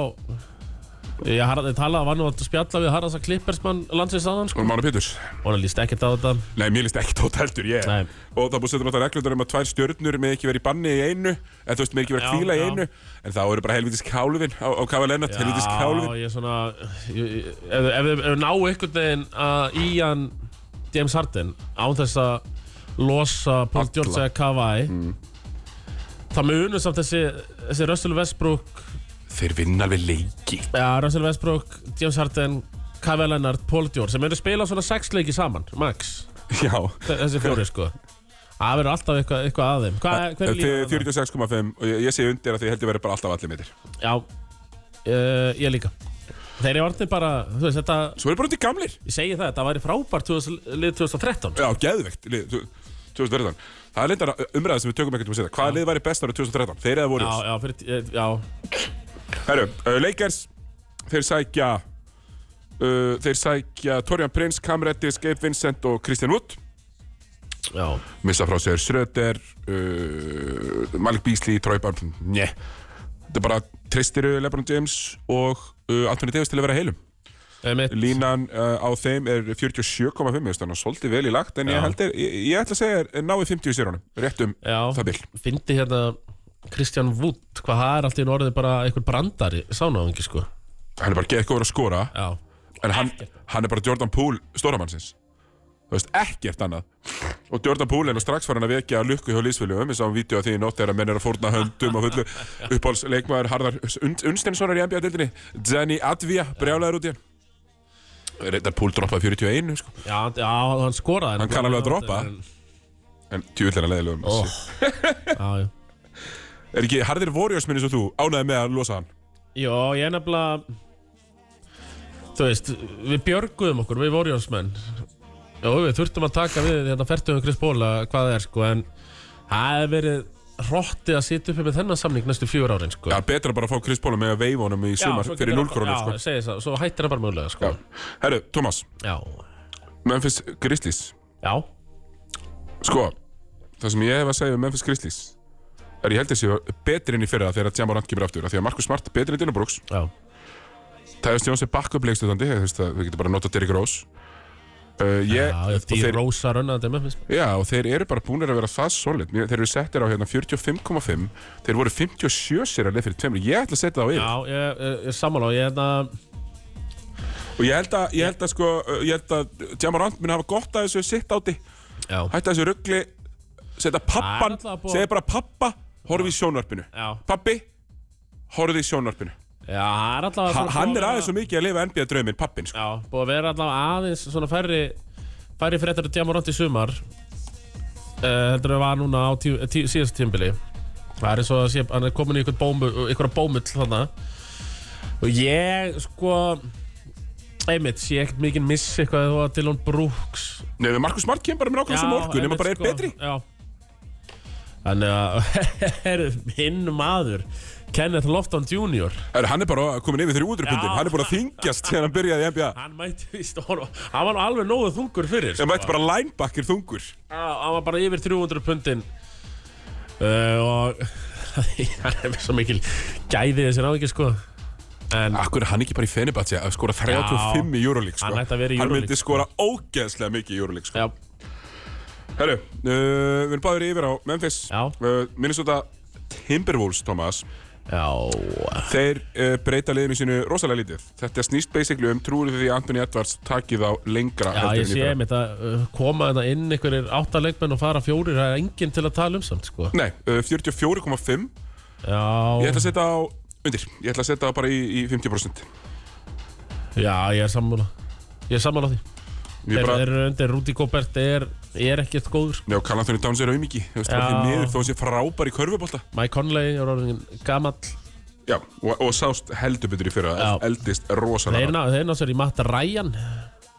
Ég harði talað, var nú að spjalla við Harðasa Klippersmann landsins aðan sko.
og Mána Péturs
og hann líst ekkert á þetta
Nei, mér líst ekki tótt heldur, ég
Nei.
Og það er búið að setja náttúrulega reglundar um að tvær stjörnur með ekki verið í banni í einu En þú veist, með ekki verið
Já,
að kvíla í
já.
einu En þá eru bara helvitis kálfin á, á Kafa Lennart, helvitis kálfin
ég er svona ég, ég- ef, ef, ef, ef ná einhvern veginn að Ían James Harden án þess að losa Paul
Alla. Mm.
George eða Kawhi það munum samt þessi, þessi Russell Westbrook
Þeir vinna alveg leiki (laughs)
ja, Russell Westbrook, James Harden Kawhi Leonard, Paul George sem eru að spila svona sex leiki saman, max
Já
þessi fjóri sko það verður alltaf eitthvað, eitthvað að þeim Hva, hver er
Þe-
línan?
46,5 og ég, ég sé undir að þið heldur verið bara alltaf allir meitir
Já, uh, ég líka þeir eru orðin bara, þú veist þetta
Svo eru bara undir gamlir
ég segi það, þetta væri frábært 2000 lið 2013 sko.
Já, geðvegt lið, þú- 2013 Það er lindar umræða sem við tökum ekkert um að setja Hvaða lið væri best ára 2013? Þeir eða
já,
voru
já, fyrir, eh, já,
Herru, uh, Lakers Þeir sækja uh, Þeir sækja Torian Prince, Cam Reddish, Gabe Vincent og Christian Wood
já,
Missa frá sér Schröder uh, Malik Beasley, Troy Barton Njæ Þetta er bara tristiru Lebron James og uh, Anthony Davis til að vera heilum
einmitt,
Línan uh, á þeim er 47,5 Þannig að hann soldi vel í lagt En
Já.
ég held er, ég, ég ætla að segja er náið 50 í sérunum Rétt um
já
það bil
fyndi hérna Kristján Wood, hvað það er allt í einu orðið bara einhver brandari, sánaðungi sko
Hann er bara geðið góður að skora
já,
En hann, hann er bara Jordan Poole stóramannsins Þú veist, ekkert annað Og Jordan Poole er nú strax farin að vekja lukku hjá Lísfjöljum Við sáum vídeo að því í nótt þegar að menn er að fórna höndum og fullu uppáhalds leikmaður Harðar Und, Unstenssonar í NBA-dildinni Jenny Advia, brjálæður út í hann Reyndar Poole droppaði 41 sko.
já, já hann skoraði
Hann kann alveg að droppa. En tjúvillan að leiðilegum
Ó.
oh.
já, já
Er ekki Harðir Warriors minni svo þú ánæði með að losa hann
Já, ég er nefnilega Þú veist, við björguðum okkur, við vorjónsmenn Já, við þurftum að taka við hérna fertuðum Chris Paul að hvað það er sko en það hefði verið hrotti að sitja uppi með þennan samning næstu fjör árin sko
Já, betra bara að fá Chris Paul með að veifa honum í sumar
svo
fyrir 0
getur hann-
krónur
Já,
sko.
segi það, svo hættir það bara mögulega sko
Já. Herru, Thomas,
Já,
Memphis Grizzlies
já,
Sko, það sem ég hef að segja um Memphis Grizzlies er ég held þessi betri inn í fyrra þegar Jamal Rand kemur aftur af því að Marcus Smart er betri inn í Brooks
já.
Tyus Jones er backup leikstutandi við getum bara að nota Derrick Rose uh, ég,
já, já
og
Því
þeir,
rosa rönnaði með fyrst
já, og þeir eru bara búinir að vera það solid Mér- þeir eru settir á hérna 45,5 þeir voru 57 sér að leið fyrir tveimur ég ætla að setja það á yfir
Já, ég, ég, ég sammála og ég hérna- er það
og ég held að, ég held að, sko, uh, ég held að Jamal Rand minn hafa gott að þessu sitt áti
Já,
hætta þessu ruggli setja pappan,
Það er náttúrulega búið-
segja bara pappa horfi í sjónvarpinu
já,
Pappi, horfðu í sjónvarpinu
já, það er alltaf
ha, Hann er aðeins svo mikið að lifa NBA drauminn, pappin sko.
Já, búið að vera allavega aðeins svona færri færri fréttar að djáma rátt í sumar uh, heldur að var núna á tí, tí, síðast tímbili það er eins og að sé, hann er komin í einhver bómu, einhverja bómull þannig og ég sko einmitt, sé ekkert mikið miss eitthvað þó að Dylan Brooks
Nei, við Markus Smart kemur bara með nákvæmlega sem orku nema
einmitt, sko.
bara er betri
(laughs) Já Þannig að, herru, minn maður Kenneth Lofton Jr.
Er, hann er bara komin yfir 300 pundum,
Já.
hann er búin að þingjast þegar hann byrjaði í NBA.
Hann mætti víst, hann hann var nú alveg nógu þungur fyrir
Ég mætti bara linebacker þungur.
Á- Hann var bara yfir 300 pundin uh, Og (laughs) hann er með svo mikil gæði þessi náðingi sko En
Akkur er hann ekki bara í Fenebatsi að skora 35 í Euroleague sko.
Hann ætti að vera í
Hann
Euroleague, sko.
myndi skora ógeðslega mikið í Euroleague sko.
já,
Herru, uh, við erum báður yfir á Memphis
Já.
uh, Minnesota Timberwolves, Thomas
já
Þeir uh, breyta liðinu sínu rosalega lítið Þetta snýst basically um trúrið því að Anthony Edwards takið á lengra
Já, ég sé einmitt að uh, koma þetta inn einhverjir áttaleikmenn og fara fjórir það er enginn til að tala um samt sko
Nei, uh, 44,5 Ég
Já,
ætla að setja á undir Ég ætla að setja á bara í, í 50%
já, ég er sammála Ég er sammála því
Ég
Þeir
bara,
þeir eru undir, Rúti Gobert er, er ekkert góður sko.
já, Karl Anthony Downs er auðmiki Þú veist,
Já.
það er niður þó að sé frábær í körfubólta
Mike Conley er orðin gamall
Já, og, og sást heldur betur í fyrra
Já.
Eldist rosalega
Þeir ná, þeir ná sér í Matt Ryan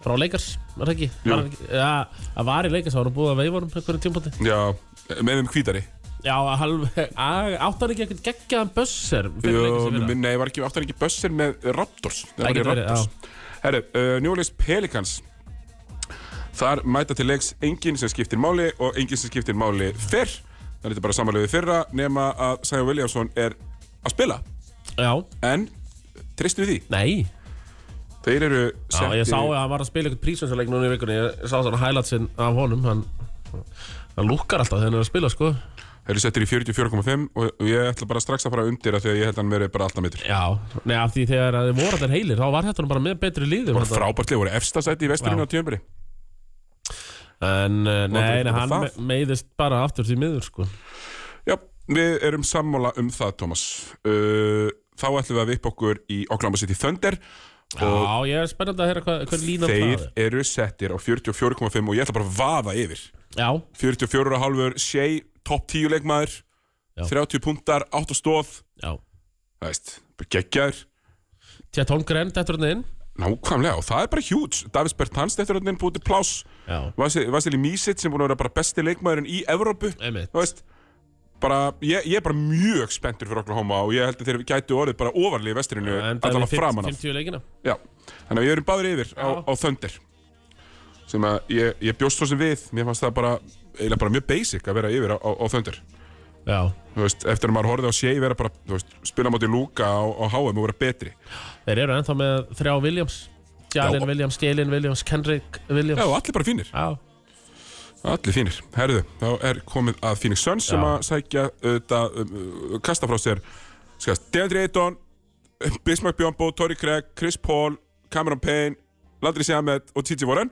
frá Lakers, var það ekki?
Jú.
Var hann ekki- Já, það var í Lakers, það var hann búið að veifa honum einhverjum tímpóti.
Já, með þeim hvítari
Já, að halv, (laughs) að- átti hann ekki eitthvað geggjaðan bösser fyrir Lakers
Jú,
í fyrra?
Nei, var ekki, áttan ekki bössir með Raptors
Það
var í
getur verið,
Raptors. Herru, uh, New Orleans Pelicans Þar mæta til leiks enginn sem skiptir máli og enginn sem skiptir máli fyrr Þannig að þetta er bara samanlega við fyrra nema að Sæjón Williamson er að spila
Já,
En, treystum við því
nei,
Þeir eru
já, ég sá að hann var að spila eitthvað prísvönsuleik núna í vikunni, ég sá svona highlightsinn af honum, hann, hann lukkar alltaf þegar hann er að spila, sko.
Þeir eru settir í 44,5 og, og ég ætla bara strax að fara undir af því að ég held að hann verið bara alltaf mittur
Já, nei, af því þegar að þeir voru allir heilir, þá var þetta nú bara með betri líðum.
Bara frábærtlega voru efsta sæti í vesturinu
Já.
á tjömbri
En, eh, nei,
Vonbrigði
nei,
með
hann
það.
me- meiðist bara aftur því miður, sko.
Já, við erum sammála um það, Thomas. Uh, þá ætlum við að vipa okkur í Oklahoma City Thunder og
Já, ég er spennandi að heyra hvað, hvað lína
þeir eru settir á 44,5 og ég ætla bara að vaða yfir.
Já,
44,5 Shea, topp 10 leikmaður,
Já.
30 punktar, 8 stóð,
já
það veist, bara geggjaður.
Tjá Tongren, þetta er hann inn
Nákvæmlega, og það er bara huge. Davis Bertans, þetta er hann búið til pláss.
Já,
Vasili Vasili Misic sem búin að vera bara besti leikmaðurinn í Evrópu.
einmitt
Þú veist, bara, ég, ég er bara mjög spenntur fyrir Oklahoma og ég held að þeir gætu orðið bara ofarlega í vestrinu allan að framan af.
50 leikina
Já, þannig að við erum báðir yfir á,
Já.
á Thunder sem að ég, ég bjóst svo sem við mér fannst það bara, eiginlega bara mjög basic að vera yfir á, á, á Thunder
Já,
Þú veist, eftir að maður horfði á Shea vera bara þú veist, spila á móti Luka á, á HM og vera betri Já,
þeir eru ennþá með þrjá Williams
Já.
Jalen Williams, Jalen Williams, Kendrick Williams
og allir bara fínir
Já,
Allir fínir, herðu, þá er komið að Phoenix Suns sem
Já.
að sækja auðvitað, um, uh, kasta frá sér skast, Deandre Ayton Bismarck Bjombo, Torrey Craig, Chris Paul Cameron Payne, Landry Shamet og T.J. Warren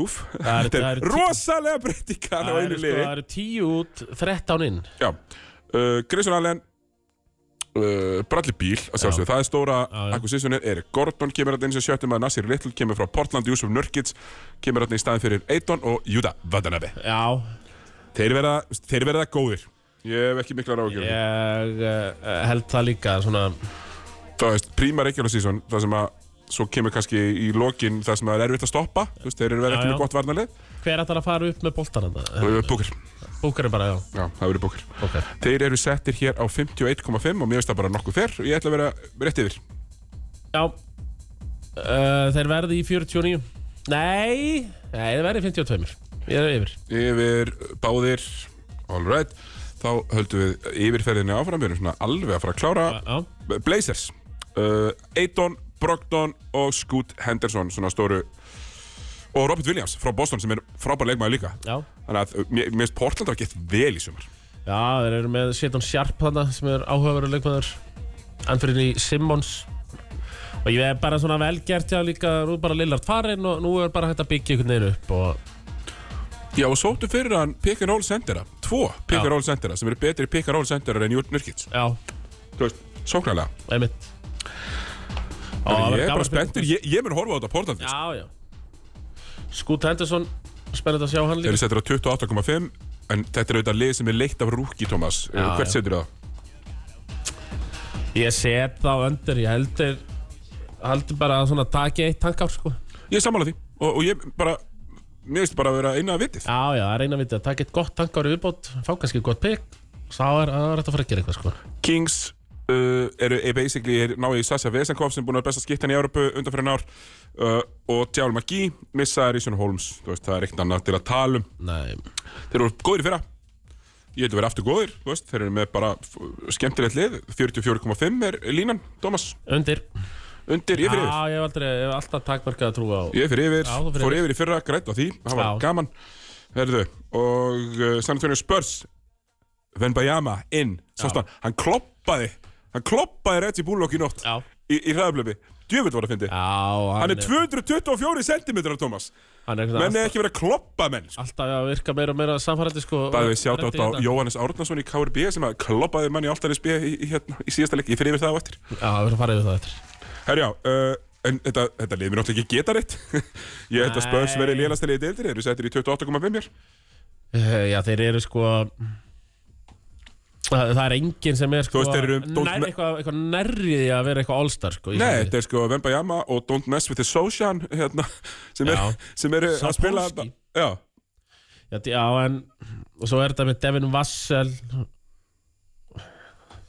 Úf, (laughs)
Það eru-
þetta
það
er
eru tí-
rosalega breytingar á
það
einu
eru sko,
liði
það eru 10 út, 13 inn
Já, uh, Grayson Allen uh, Bradley Beal að sjálfsögðu, það er stóra
Já, já.
akkusisunir, Erik Gordon kemur hann inn sem sjöttum að Nasir Little kemur frá Portland, Yusuf Nurkic kemur hann í staðin fyrir Eiton og Juda Vadanabe
Já,
Þeir verða, þeir verða góðir Ég hef ekki mikla ráðgjörð yeah.
ég uh, held það líka svona
Það veist, príma regular season Það sem að, svo kemur kannski í lokin Það sem að það er erfitt að stoppa Þú veist, Þeir eru verið
Já,
ekki
já.
með gott varnarlið
Hver ætlar að fara upp með boltan hann?
Búkir,
Búkari bara, já,
já, það verður búkir
ok
Þeir eru settir hér á 51,5 Og mér finnst það bara nokkuð fyrr Ég ætla að vera rétt yfir
Já, uh, þeir verði í 49 Nei, nei, þeir verði í 52 Ég er yfir
Yfir, báðir, all right Þá höldum við yfirferðinni áfram Við erum svona alveg að fara að klára
Já,
Blazers uh, Eiton, Brogdon og Scoot Henderson svona stóru og Robert Williams frá Boston sem er frábær leikmaður líka
já
þannig að uh, mér mér finnst Portland hafa gett vel í sumar
Já, þeir eru með Seton Sharp þarna sem er áhugaverður leikmaður Anthony Simmons og ég er bara svona velgert já líka nú er bara Lillard farinn og nú er bara hægt að byggja einhvern veginn upp og
Já og sóttu fyrir hann pick and roll sendera tvo pick
Já.
and roll sendera sem eru betri pick and roll sendera en Júrn Nurkic
já,
þú veist, sóknarlega
einmitt og það
Þannig
verður
ég er bara
gaman að fylgjast
spenntur,
með.
ég, ég mun horfa á þetta á Portland fyrst.
Já, já Scoot Henderson spennandi að sjá hann
Þeir
líka
eru settir á 28,5 en þetta er auðvitað lið sem er leitt af rúki Thomas já,
Já,
hvert
já.
setur það?
Ég set þá öndir, ég heldur heldur bara að svona taki eitt tankar sko
Ég er sammála því og, og ég bara mér finnst bara að vera eina að vitið
Já, já, það er eina vitið að taka eitt gott tankar í viðbót, fá kannski gott pick þá er það er hægt að fara að gera eitthvað sko
Kings uh, eru er basically er, ná í Sasha Vesenkov sem er búin að vera besta skittan í Európu undan fyrir ár uh, og Djál Magí missaði Rísjón Holmes þú veist, það er ekkert annað til að tala um
Nei,
þeir eru góðir í fyrra ég held að vera aftur góðir þú veist, þeir eru með bara f- skemmtilegt lið 44,5 er línan Thomas
undir
undir, ég fyrir yfir
Já, ég hef aldrei, ég hef alltaf takmarkað að trúa á
ég fyrir yfir,
Já, þú fyrir
fór
yfir.
yfir í fyrra grætt á því, það var
Já.
gaman Herðu, og uh, San Antonio Spurs Venbayama inn, sást hann, hann kloppaði hann kloppaði Reggie Bullock í nótt
Já,
í, í hraðablöfi, djöfitt var að fyndi
já hann,
hann er 224 cm Thomas
Hann er einhvern
menn
veginn
er ekki verið að kloppa menn sko.
alltaf- alltaf að virka meira og meira samfærandi sko
Bæði við sjátt átt
Rendi
á
hérna.
Jóhannes Árnason í KRB sem að kloppaði mann í alltaf SB í, í, hérna, í síðasta leik, ég fyrir yfir það á eftir
Já, við erum að fara yfir það eftir
Herjá, uh, en þetta, þetta liður náttúrulega ekki geta reitt (laughs) Ég held að Spurs
Nei.
verið lélast að liði deildir, eru settir í 28,5 mér
Eh, Já, þeir eru sko Það það er enginn sem er sko
veist, þeir eru- don't-
nær, eitthvað, eitthvað nærri því að vera eitthvað allstar sko í
Nei,
þessu liði.
þetta er sko Vembayama og Don't Mess With The Soshan hérna, sem, er,
Já.
sem eru að spila
Sapolsky.
þarna. Já,
Já, d- já, en Og svo er þetta með Devin Vassel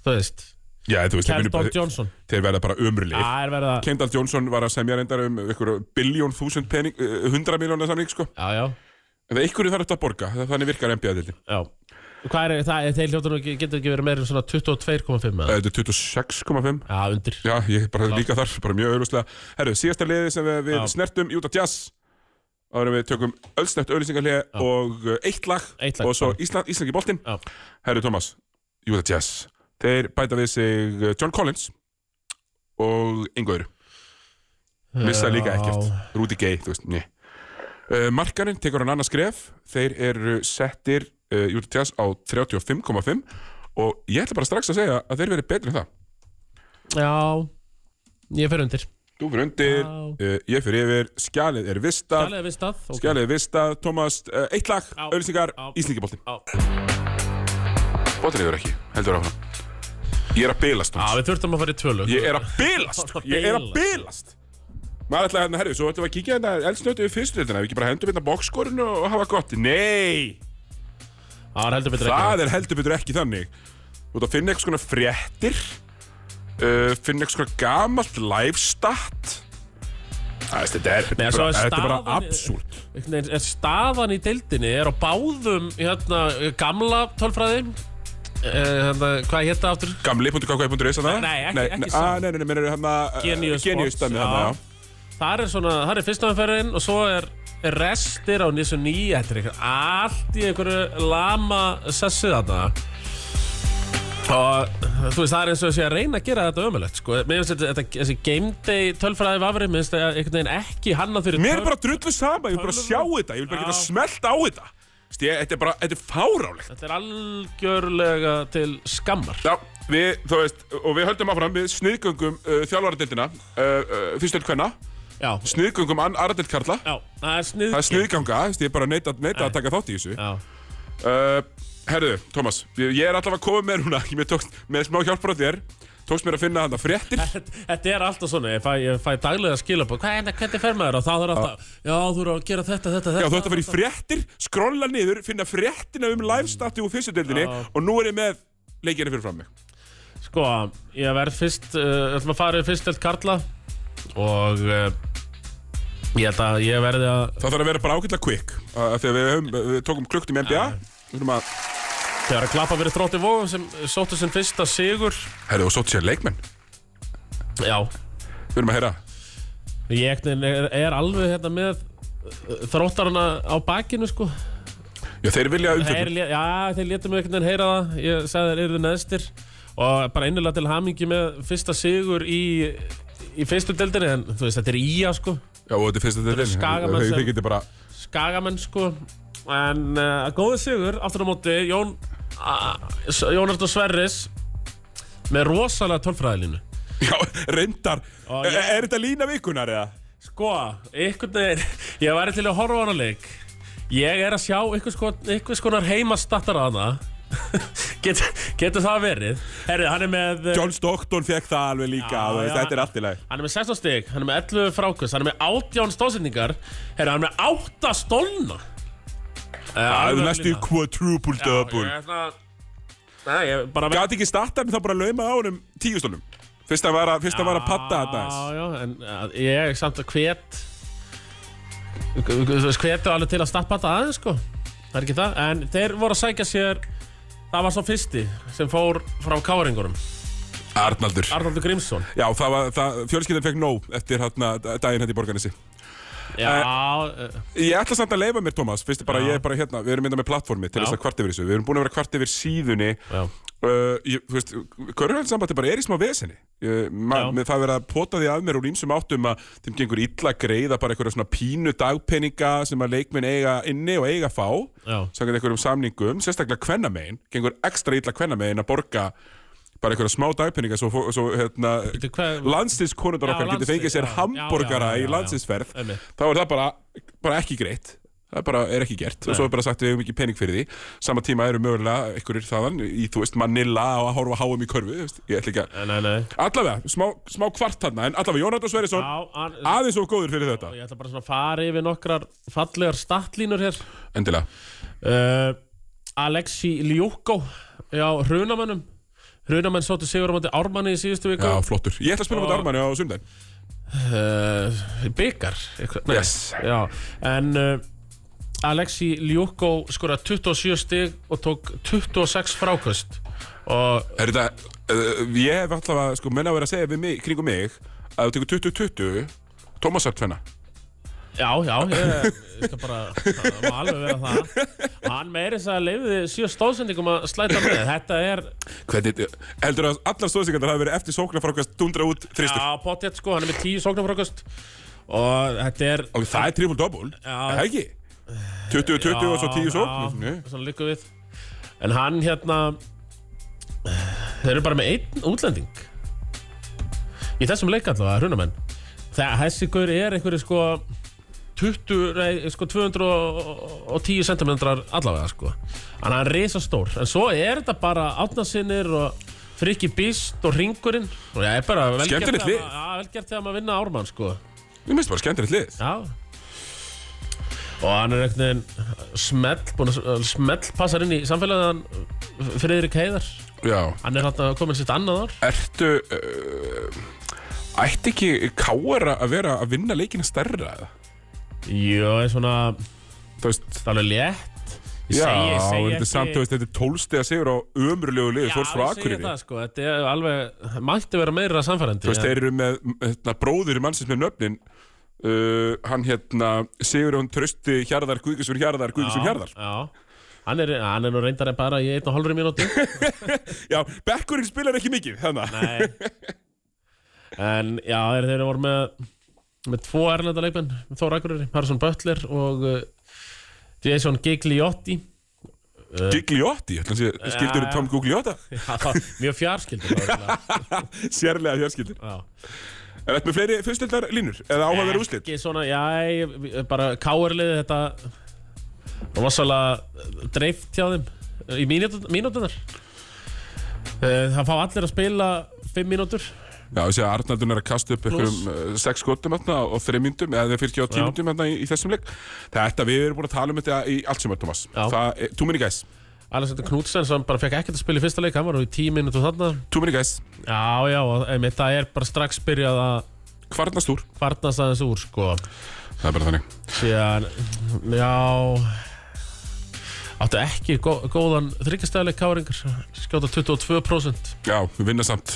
Þú veist
Já, þú veist, þeir munu
Keldon
bara-
Johnson
þeir verða bara umrulið
Það er verið að
Kendall Johnson var að semja reyndar um ykkur biljón þúsund pening, eh, 100 miljónar samning sko.
Já, já,
En það ykkur þarf þetta að borga, það- þannig virkar NBA-dildin
já Hvað er það, þeir hljóttur ekki, getur ekki verið meira en svona 22,5 eða?
Þetta er 26,5
Já, undir
Já, ég er bara
Klart.
líka þar, bara mjög auðvuslega Herru, síðasta liði sem við, við
Já.
snertum, Júta Jazz Það erum við tökum öllsnett auðlýsingarlega og eh, eitt lag,
Eitt lag,
og svo Ísland, Ísland í boltinn
Já.
Herru Thomas, Júta Jazz Þeir bæta við sig eh, John Collins og Ingaur Missa líka ekkert, Rúti Gay, þú veist, njö Uh, markarinn tekur hann annað skref þeir eru settir uh, Júta Jazz á 35,5 og ég ætla bara strax að segja að þeir verið betri en það
Já, ég fer undir
Þú fyrir undir,
Já.
uh, ég fyrir yfir, skjalið er vistað,
Kjærlega við stað ok.
skjalið er vistað, Tómas, uh, eitt lag,
Já.
auðlýsingar,
Já.
Íslingiboltin.
Já,
Boltin yfir ekki, heldur áfram. Ég er að bilast,
Já,
Tómas.
við þurftum að fara í tvölu
Ég er að bilast,
(laughs) Það var
ég er að
bilast.
bilast. Maður ætlaði hérna, herru, svo ætlum við að kíkja hérna eldsnötu við fyrstöldina, við ekki bara hendum hérna bókskorinu og hafa gott. Nei,
Það er heldur betur ekki
það er heldur betur ekki þannig. Þú ert að finna eitthvað svona fréttir, uh, finna eitthvað svona gamalt livestat. Það veist, Þetta er,
Nei,
bara,
svo er
þetta er bara
staðan-
absúrt.
Einhvern veginn Er staðan í deildinni er á báðum hérna, gamla tölfræði eh, hérna, Hvað hétta aftur?
Gamli.kk.is að það?
Nei, ekki- ekki
nei,
sá.
að, Nei, hérna, uh, nei, nei, mennur hann að
Genius Sports,
Genius-dæmi hann,
já.
já
Það er svona, það er fyrstaðanferðin og svo er er restir á nýs og nýja Þetta er eitthvað allt í einhverju lama sessi þarna og þú veist, það er eins og þessi að reyna að gera þetta ömulegt sko. Mér finnst þetta, þetta þessi game day tölfræði vafri, mér finnst þetta einhvern veginn ekki hannað fyrir
Mér er
töl-
bara drullu sama, ég vil bara
Tölvum.
sjá þetta Ég vil bara
Já.
geta smelt á þetta Vist ég, Þetta er bara, þetta er fárálegt
Þetta er algjörlega til skammar
Já, við, þú veist, og við höldum áfram Við sniðgöngum uh, þjálfaradildina uh, uh, Fyrstöld kvenna,
Já,
sniðgöngum ann- aðra dild karla
já það er sniðgjöld
Það er sniðganga, þú veist, ég er bara neita, neita að taka þátt í þessu
Já,
uh, Herðu, Tómas, ég, ég er allavega komið með núna (laughs) Ég- Mér tókst, með smá hjálp frá þér Tókst mér að finna hann fréttir
þetta þetta er alltaf svona, ég fæ, ég fæ daglega skilabók Hvað er þetta, hvernig fer maður? Og þá þarf alltaf, já, þú eru að gera þetta, þetta, þetta
Já, þú ætti að fara í fréttir, skrolla niður, finna fréttina um live-stati úr fyrstu deildinni
Já.
og nú er ég með leikina fyrir fram mig.
Sko, ég verð fyrst, uh, ætlum að fara í fyrst held Karla Og uh, ég held að ég verði að,
Það þarf að vera bara ágætlega quick, af því að við, höfum, við tókum klukktum í NBA. Við þurfum að...
þegar að klappa verið þrótti vóðum sem sóttu sinn fyrsta sigur
Herðu, og sótt sér leikmenn.
Já,
Við þurfum að heyra.
ég einhvern veginn er, er alveg hérna með eh, þróttarana á bakinu sko
Já, þeir vilja
Þeir,
umfjöldum.
lé- já, þeir létu mig einhvern veginn heyra það Ég sagði þeir eru neðstir Og bara einnilega til hamingi með fyrsta sigur í, í fyrstu deildinni En þú veist, þetta er í að sko
Já, og þetta er fyrstu deildinni.
Skagamenn
Þeir-
sem-
Þeir getur bara... (laughs)
Skagamenn sko En uh, góðu sigur, aftur á móti Jón uh, Jón Artur Sverris Með rosalega tölfræðilínu
Já, reyndar.
Ó,
Er,
ég-
er þetta lína vikunar eða?
Sko, einhvern veginn (laughs) Ég væri til að horfa á hana leik Ég er að sjá einhvers, kon, einhvers konar heimastattar að hana (laughs) Get, Getur það verið Herrið, hann er með eh,
John Stockton fekk það alveg líka,
Já,
þú veist,
já.
þetta er allt í lagi.
Hann er með 16 stig, hann er með 11 frákvist, hann er með 18 stóðsendingar Herra, hann er með 8 stólna
Það er næstu quadruple
Já,
double.
ég ætla að Nei, ég bara
Gat ekki starta en þá bara lauma á honum tíustónum Fyrst að vara, fyrst að, vara að patta þetta aðeins.
Ah, Já, já, en að, ég er samt að hvet Þú veist, hvet er alveg til að stappa þetta aðeins, sko Það er ekki það, en þeir voru að sækja sér Það var svo fyrsti sem fór frá káringurum
Arnaldur
Arnaldur Grímsson
Já, það var, það, fjölskyldin fekk nóg eftir hérna daginn hérna í Borgarnesi
Já, uh,
Ég ætla samt að leifa mér, Tómas, fyrst bara,
Já.
ég er bara hérna, við erum mynda með plattformi til
Já.
þess að kvart yfir þessu Við erum búin að vera kvart yfir síðunni
já,
Uh, ég, þú veist, körfældsambandi bara er í smá vesinni ég, ma,
Já.
með það verið að pota því af mér úr ímsum áttum að þeim gengur illa að greiða bara einhverja svona pínu dagpeninga sem að leikminn eiga inni og eiga að fá
já
samkvæmt einhverjum samningum, sérstaklega kvennamein gengur ekstra illa kvennamein að borga bara einhverja smá dagpeninga svo, fó- svo hérna,
Þú, hvað,
landslískonundar
Já,
okkar geti
landsliðs-
fengið sér
já, já,
hambúrgara
já,
í
já, já.
landslísferð
Einmitt.
þá er það bara, bara ekki greitt það er bara er ekki gert og svo er bara sagt við hefum ekki pening fyrir því sama tíma eru mögulega einhverjir þaðan í þú veist Manila og að horfa á HM í körfu þú veist, ég ætla ekki að
Nei, nei, nei
allavega, smá, smá kvart þarna en allavega Jónatan Sverrisson
Já, hann,
aðeins og góður fyrir þetta
ég ætla bara svona að fara yfir nokkrar fallegar statlínur hér
endilega
uh, Alexi Ljúko Já, hrunamönnum Hrunamenn sóttu sigur á móti Ármanni í síðustu viku
Já, flottur. Ég ætla að spila
Og-
mot Armanni á sundaginn.
uh, byggar
Yes.
já. en uh, Alexi Ljúko skora 27 stig og tók 26 frákust og
Er þetta, uh, ég hef allavega, sko, menna að vera að segja við mig, kringum mig, að þú tekur 20-20, Tómas Artvenna.
já, já ég, ég skal bara, það má alveg vera það hann meiri þess að leiði sjö stóðsendingum að slæta með þetta er,
Hvernig, heldur að allar stóðsíkandar hafi verið eftir sóknar frá hvað dundra út
já,
þristur?
potjett sko hann er með 10 sóknarfrákust og þetta er
Og það er triple-double, er það ekki? 20-20 og svo 10 sóknir.
já, svona líka við en hann hérna þeir eru bara með einn útlending í þessum leik allavega, hrunamenn það þessi gaur er einhverju sko 20, nei, sko 210 cm allavega sko hann er risa stór, en svo er þetta bara átnasinnir og frikki bíst og ringurinn og ég er bara vel gert
Skemmtilegt
þegar
lið.
maður- já, vel gert þegar maður vinna ármann sko
Mér finnst bara skemmtilegt lið.
Já Og hann er einhvern veginn smell, búin að smell passar inn í samfélagið hann Friðrik Heiðar
Já.
Hann er hann komin sitt annað ár
Ertu, uh, ætti ekki káara að vera að vinna leikina stærra eða?
Jó, er svona,
Þú veist,
það er alveg létt Ég
já,
segi, ég segi
þetta er samt, þú veist, þetta er tólstega sigur á ömurlegu liðu,
Já,
fórst frá
ég segi
Akureyri.
það sko, þetta er alveg, mætti vera meira samfærandi
Þú veist, þeir eru með hérna, bróður í mannsins með nöfnin uh, Hann hérna Sigurjón Trausti Hjarðar Guðgjusson Hjarðar Guðgjusson Hjarðar
Já, hann er, hann er nú reyndar bara í einn og hálfri mínúti
Já, Bekkurinn spilar ekki mikið hérna. þannig
Nei En já, þeir, þeir voru með með tvo erlenda leikmenn Þóra Akureyri, Harrison Butler og uh, Jason Gigliotti
Gigliotti, ætla að sé, skildur
Já, já.
Tom
(laughs)
Gigliotta
Já, það var mjög fjarskildur örugglega.
Sérlega fjárskildur
Já. Eh,
Er þetta með fleiri fyrstildar línur? Eða áhugaverð úrslit?
Ekki svona, já, ég- bara káerlið þetta það var svolítið dreift hjá þeim eh, í mínútu- mínúturnar Eh, Það fá allir að spila fimm mínútur
Já, þessi að Arnaldun er að kasta upp einhverjum uh, sex skotum hérna og þreim myndum eða þeir fyrir ekki á
Já.
tímundum hérna í, í þessum leik Þetta, við erum búin að tala um þetta í allt sem er, Thomas
Já.
Það, er- too many guys,
Alexander Knudsen sem bara fekk ekkert að spila í fyrsta leik hann var nú í tíu mínútu þarna
too many guys
Já, já, og einmitt, það er bara strax byrjað að
Hvarnast úr,
kvarnast aðeins úr, sko.
það er bara þannig
Síðan, já, áttu ekki gó góðan þryggjastæðileg káringar, skjóta 22%.
Já, við vinna samt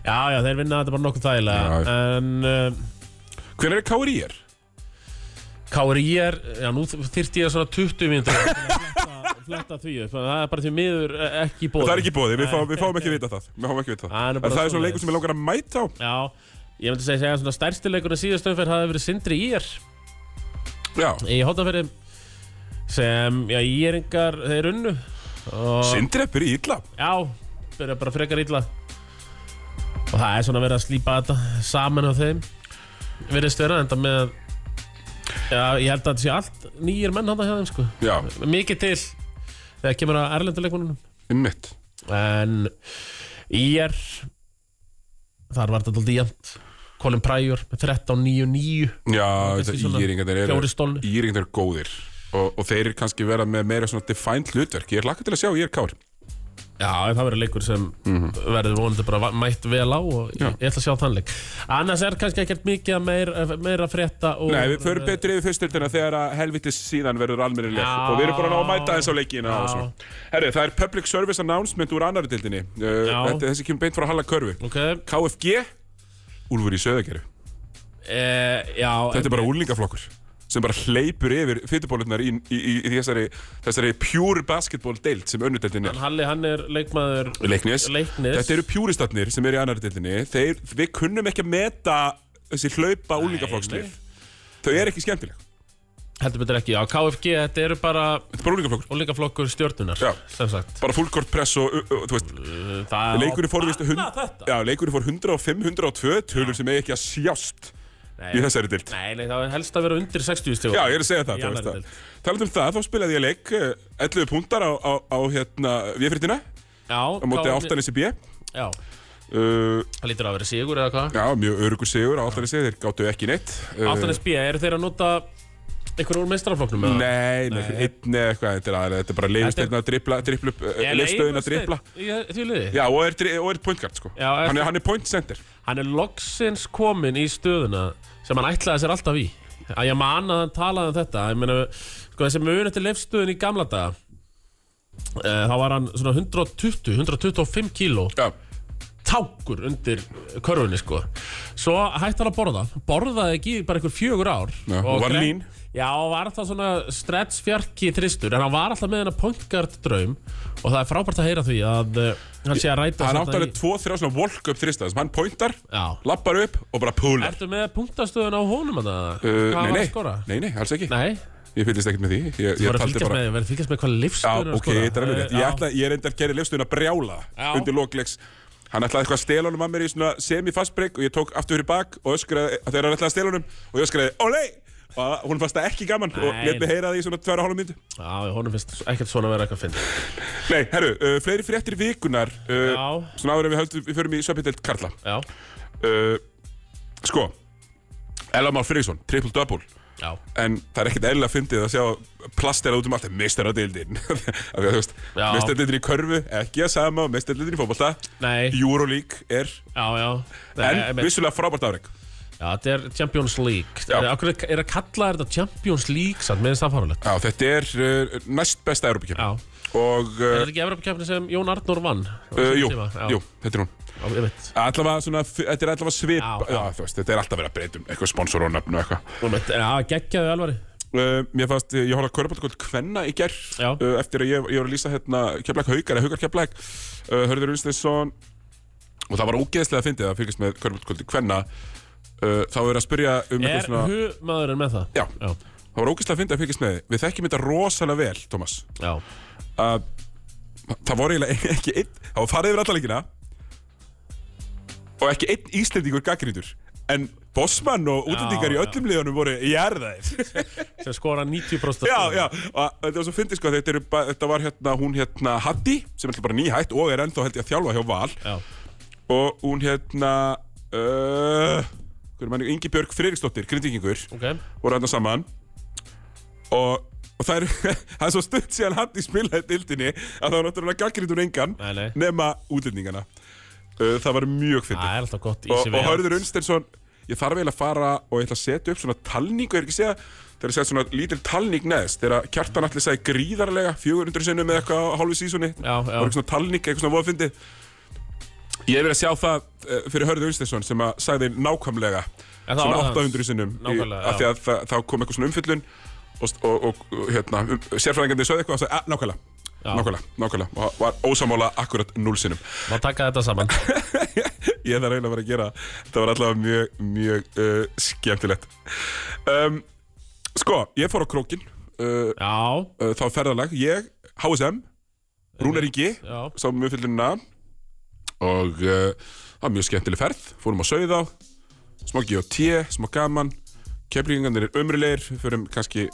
Já, já, þeir vinna þetta bara nokkuð þægilega.
Já,
En uh,
Hvernig er Kári er?
kári ég er, já, nú þyrti ég svona 20 mínútur að fletta, fletta því upp. Það er bara því miður eh, ekki bóðið.
Það er ekki bóði, við, fá, við fáum ekki að vita það Við fáum ekki að vita
Það er
það En
nú bara
það er svona
svoleiðis.
leikur sem ég langar að mæta á
Já, ég myndi segja að svona stærsti leikurinn síðastöfnferð hafi verið sindri í er.
Já
í hóttanferði sem, já, íringar þeir unnu og
Sindri er byrja ítla
já, byrja bara frekar illa og það er svona verið að slípa þetta saman á þeim verið störa enda með já, ég held að þetta sé allt nýjir menn handa hjá þeim sko,
Já,
mikið til þegar kemur að erlenduleikunum
einmitt
en ír þar var þetta alltaf jæmt Colin Pryor með 13.99
Já,
kannski
þetta
svona
íringar eru
fjórir stólnir.
Íringar eru góðir og, og þeir eru kannski vera með meira svona defined hlutverk Ég er lakka til að sjá, ég er Kári
Já, en það verður leikur sem verður vonandi bara va- mætt vel á og
Já.
ég, ég ætla að sjá þann leik. Annars er kannski ekkert mikið meir, meir að frétta og...
Nei, við förum betur yfir fyrstöldina þegar að helvitis síðan verður almennileg
Já.
og við erum bara að ná að mæta þess á leikina og
Já.
svona. Herri, það er public service announcement úr annari dildinni. Uh,
Já.
þetta- þessi kemur beint frá Halla Körfu.
Ok,
KFG, Úlfur í Söðagerju.
e, já...
Þetta er bara úlningaflokkur sem bara hleypur yfir fytubólutnar í, í, í, í þessari, þessari pure basketball deild sem önnudeldin er.
Halli, hann er leikmaður...
Leiknis.
Leiknis.
Þetta eru pjúristatnir sem eru í annari deildinni. Þeir, við kunnum ekki að meta þessi hlaupa úlingaflokkslið. Þau eru ekki skemmtileg.
Heldur betur ekki, já, KFG, þetta eru bara
Þetta er bara úlingaflokkur.
úlíkaflokkur stjórnunar,
Já.
sem sagt.
Bara full court press og, og, og þú veist,
Það
leikurinn fór, víst, hund,
Banna þetta?
já, leikurinn fór 105, 102 tölur sem eigi ekki að sjást
Nei,
í þessari deild.
Nei, nei, það er helst að vera undir 60 stíð.
Já, ég er að segja það,
Í
þú veist
annarri
það.
deild.
Talandum um það, þá spilaði ég leik eh, 11 púntar á, á, á hérna, viðfyrirtina
Já,
á móti Álftanesi B.
Já,
Uh,
það lítur að vera sigur eða hvað.
já, mjög örugur sigur á Álftanesi, þeir gáttu ekki neitt. Uh,
Álftanes B, eru þeir að nota einhver úr meistrafloknum? eða?
Nei, nei, einn eða eitthvað, þetta er aðeins, þetta er bara leifistegna að dribbla, dribbla upp,
Er
leifstöðin að
Leifur
dribbla.
Steinn í Því liði?
Já, og er, dri- og er pointgard, sko.
Já, er-
hann, er, hann er point center.
Hann er loksins kominn í stöðuna sem hann ætlaði sér alltaf í. Að ég man að hann talaði um þetta. Ég meina, sko þessi mun eftir leifstöðin í gamla daga, e, þá var hann svona 120, 125 kíló
Já,
tákur undir körfunni, sko. Svo hætti hann að borða. Borðaði ekki í bara einhver fjögur ár.
Já, og var
gre-
lean.
Já, og var alltaf svona stretch fjarki þristur, en hann var alltaf með hennar pointgard draum og það er frábært að heyra því að uh, hann sé að ræta
hann
svolítið
átti alveg tvo, þrjá svona walk-up þrista, sem hann pointar,
Já.
lappar upp og bara púlar.
Ertu með punktastöðun á honum að það?
Uh,
Hvað
nei,
var að
nei,
skora?
nei, nei, alls ekki.
Nei,
Ég fyllist ekkert með því. Ég,
þú
ég
verður að
taldi
fylgjast
bara...
með, verður að fylgjast með hvað
Já,
livstöðun
ok, þetta er alveg rétt. Ég ætla, ég reyndar að gera leifstöðin að brjála
Já.
undir lokleiks. Hann ætlaði eitthvað að stela honum að mér í svona semi-fastbreak og ég tók aftur fyrir bak og öskraði, þegar hann ætlaði að stela honum og ég öskraði, ó nei! Og hún fannst það ekki gaman og
Nei.
let mig heyra það í svona tværa hálfum myndu.
Já, honum finnst ekkert svona að vera eitthvað að finna
Nei, herru, uh, fleiri fréttir vikunar, uh,
Já.
svona áður en við, höldum, við förum í söpindelt Karla.
Já,
Uh, sko, Ella Már Friðriksson, triple-double.
já,
en það er ekkert eðlilega fyndið að sjá plastera út um allt, mestaradildin (laughs) af því að þú veist,
Já.
mestaradildin í körfu ekki að sama, og mestaradildin í fótbolta
Nei.
Euroleague er
já, já Nei,
en
ég meina-
vissulega frábært afreg
Já, þetta er Champions League
Já.
Er, okkur, er að kalla þetta Champions League samt, með þess að farulegt
Já, þetta er uh, næst besta Európa-kjöfn
Já,
og,
er
uh,
þetta ekki Evropakeppni sem Jón Arnór vann? á
uh,
sínum
jú,
tíma? já,
jú, þetta er hún
já, ég veit
Allavega svona, þetta er allavega svip
Já,
Já,
já.
þú veist, þetta er alltaf verið að breytum eitthvað sponsor og nöfn og eitthvað
Ég veit, Já, geggjaðu alvari
uh, Mér fannst, ég horfði að körbáttakvöld kvenna í ger
Já.
uh, eftir að ég, ég var að lýsa hérna keflæk haukar eða haukar keflæk uh, Hörður Unsteinsson og það var ógeðslega að fyndið að fylgjast með körbáttakvöldi kvenna uh, þá er að spyrja um eitthvað
Er
svona
humaðurinn með það?
Já.
Já,
það var ógeðslega að fyndið að fylgjast með því. við þekkjum þetta rosalega vel, Thomas
já,
að það voru eiginlega e- (laughs) ekki einn það var farið yfir alla leikina og ekki einn Íslendingur gaggrindur en Bosman og útlendingar í
já.
öllum liðunum voru í jarðaðir
sem skora 90%
Já, já, og þetta var svo fyndið sko þetta, eru, ba- þetta var hérna, hún hérna Hatti sem er alltaf bara nýhætt og er ennþá held ég að þjálfa hjá Val
já.
og hún hérna uh, hver er manni, Ingi Björg Freiriksdóttir grindvíkingur,
Ok,
voru hérna saman og, og það er (laughs) það er svo stutt síðan Hatti spilaði dildinni að það var náttúrulega gaggrind úr engan
Nei, nei.
nema útlendingana uh, það var mjög fyndið
það er alltaf gott í
og,
sig
og
við
Hörður Unstensson ég þarf eiginlega að fara og ég ætla að setja upp svona talningu, ég er ekki að segja það er að segja svona lítil talning neðst þegar kjartan allir sagði gríðarlega 400 sinnum eða eitthvað á hálfu sísunni
Já, já.
og eitthvað svona talning, eitthvað svona voðfindi ég hef verið að sjá það eh, fyrir Hörður Unstensson sem að sagði nákvæmlega
Já, það
svona
orðaði hans.
800 sinnum
Nákvæmlega,
af því að það, þá kom eitthvað svona umfyllun og, og, og, og hérna, um, sérfræðingandi sögði eitthvað og sagði, að, nákvæmlega
Já.
Nákvæmlega, nákvæmlega, og var ósamála akkurat núl sinnum.
Má taka þetta
(laughs)
saman
ég þarf eiginlega bara að gera það. Þetta var allavega mjög, mjög uh, skemmtilegt um, Sko, ég fór á krókin uh,
Já,
uh, Þá ferðalag Ég, HSM, Rúnar Ingi
já,
Sá mjög fyllunina Og uh, það var mjög skemmtileg ferð Fórum á Sauðá Smá G.O.T, smá gaman Keflingarnir er umrilegir Förum kannski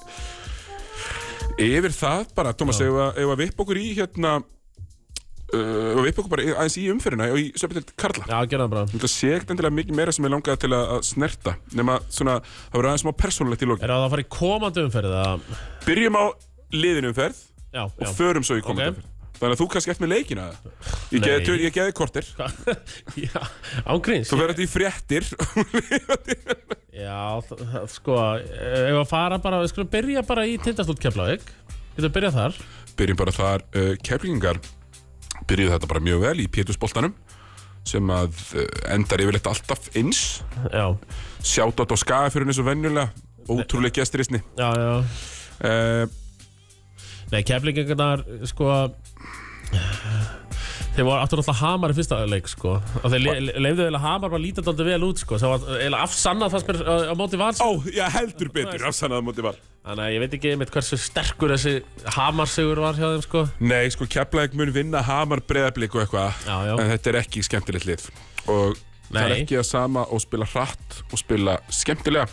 Yfir það bara, Tómas, ef að- ef að vipp okkur í hérna Uh, og við okkur bara aðeins í umferðina og í söpindelt Karla
já, gera það bara
Ég ætla að sé ekkert endilega mikið meira sem ég langaði til að að snerta nema svona, það verður aðeins smá persónulegt í lokin
Er það að fara í komandi umferð að...
Byrjum á liðinumferð
Já,
og
já,
förum svo í komandi
Ok.
umferð Þannig að þú kannski eftir með leikina eða? Ég
Nei.
geði- Ég geði kortir
(laughs) Já, ángríns
Þú verður þetta í fréttir (laughs)
Já, þ- þ- sko Ef að fara bara, við skulum byrja bara í tindastótt Keflavík Getum við byrjað þar
Byrjum bara þar uh, Keflingar byrjuðu þetta bara mjög vel í Pétursboltanum sem að uh, endar yfirleitt alltaf eins
Já,
Sjátat á skagafyrun eins og venjulega Ótrúlega gesturistni
já, já
uh,
Nei, Keflavíkingarnar, sko Þeir voru áttur alltaf hamar í fyrsta leik, sko Og þeir le le- leifðu eiginlega hamar bara lítið aldrei vel út, sko Það var eiginlega afsannað fannst mér á, á móti vals
Ó, já, heldur betur afsannaða móti var
Þannig að ég veit ekki mitt hversu sterkur þessi hamarsigur var hjá þeim, sko
Nei, sko, Keflavík mun vinna Hamar breyðablík og eitthvað
Já, já.
En þetta er ekki skemmtilegt lið Og það er
Nei.
ekki að sama og spila hratt og spila skemmtilega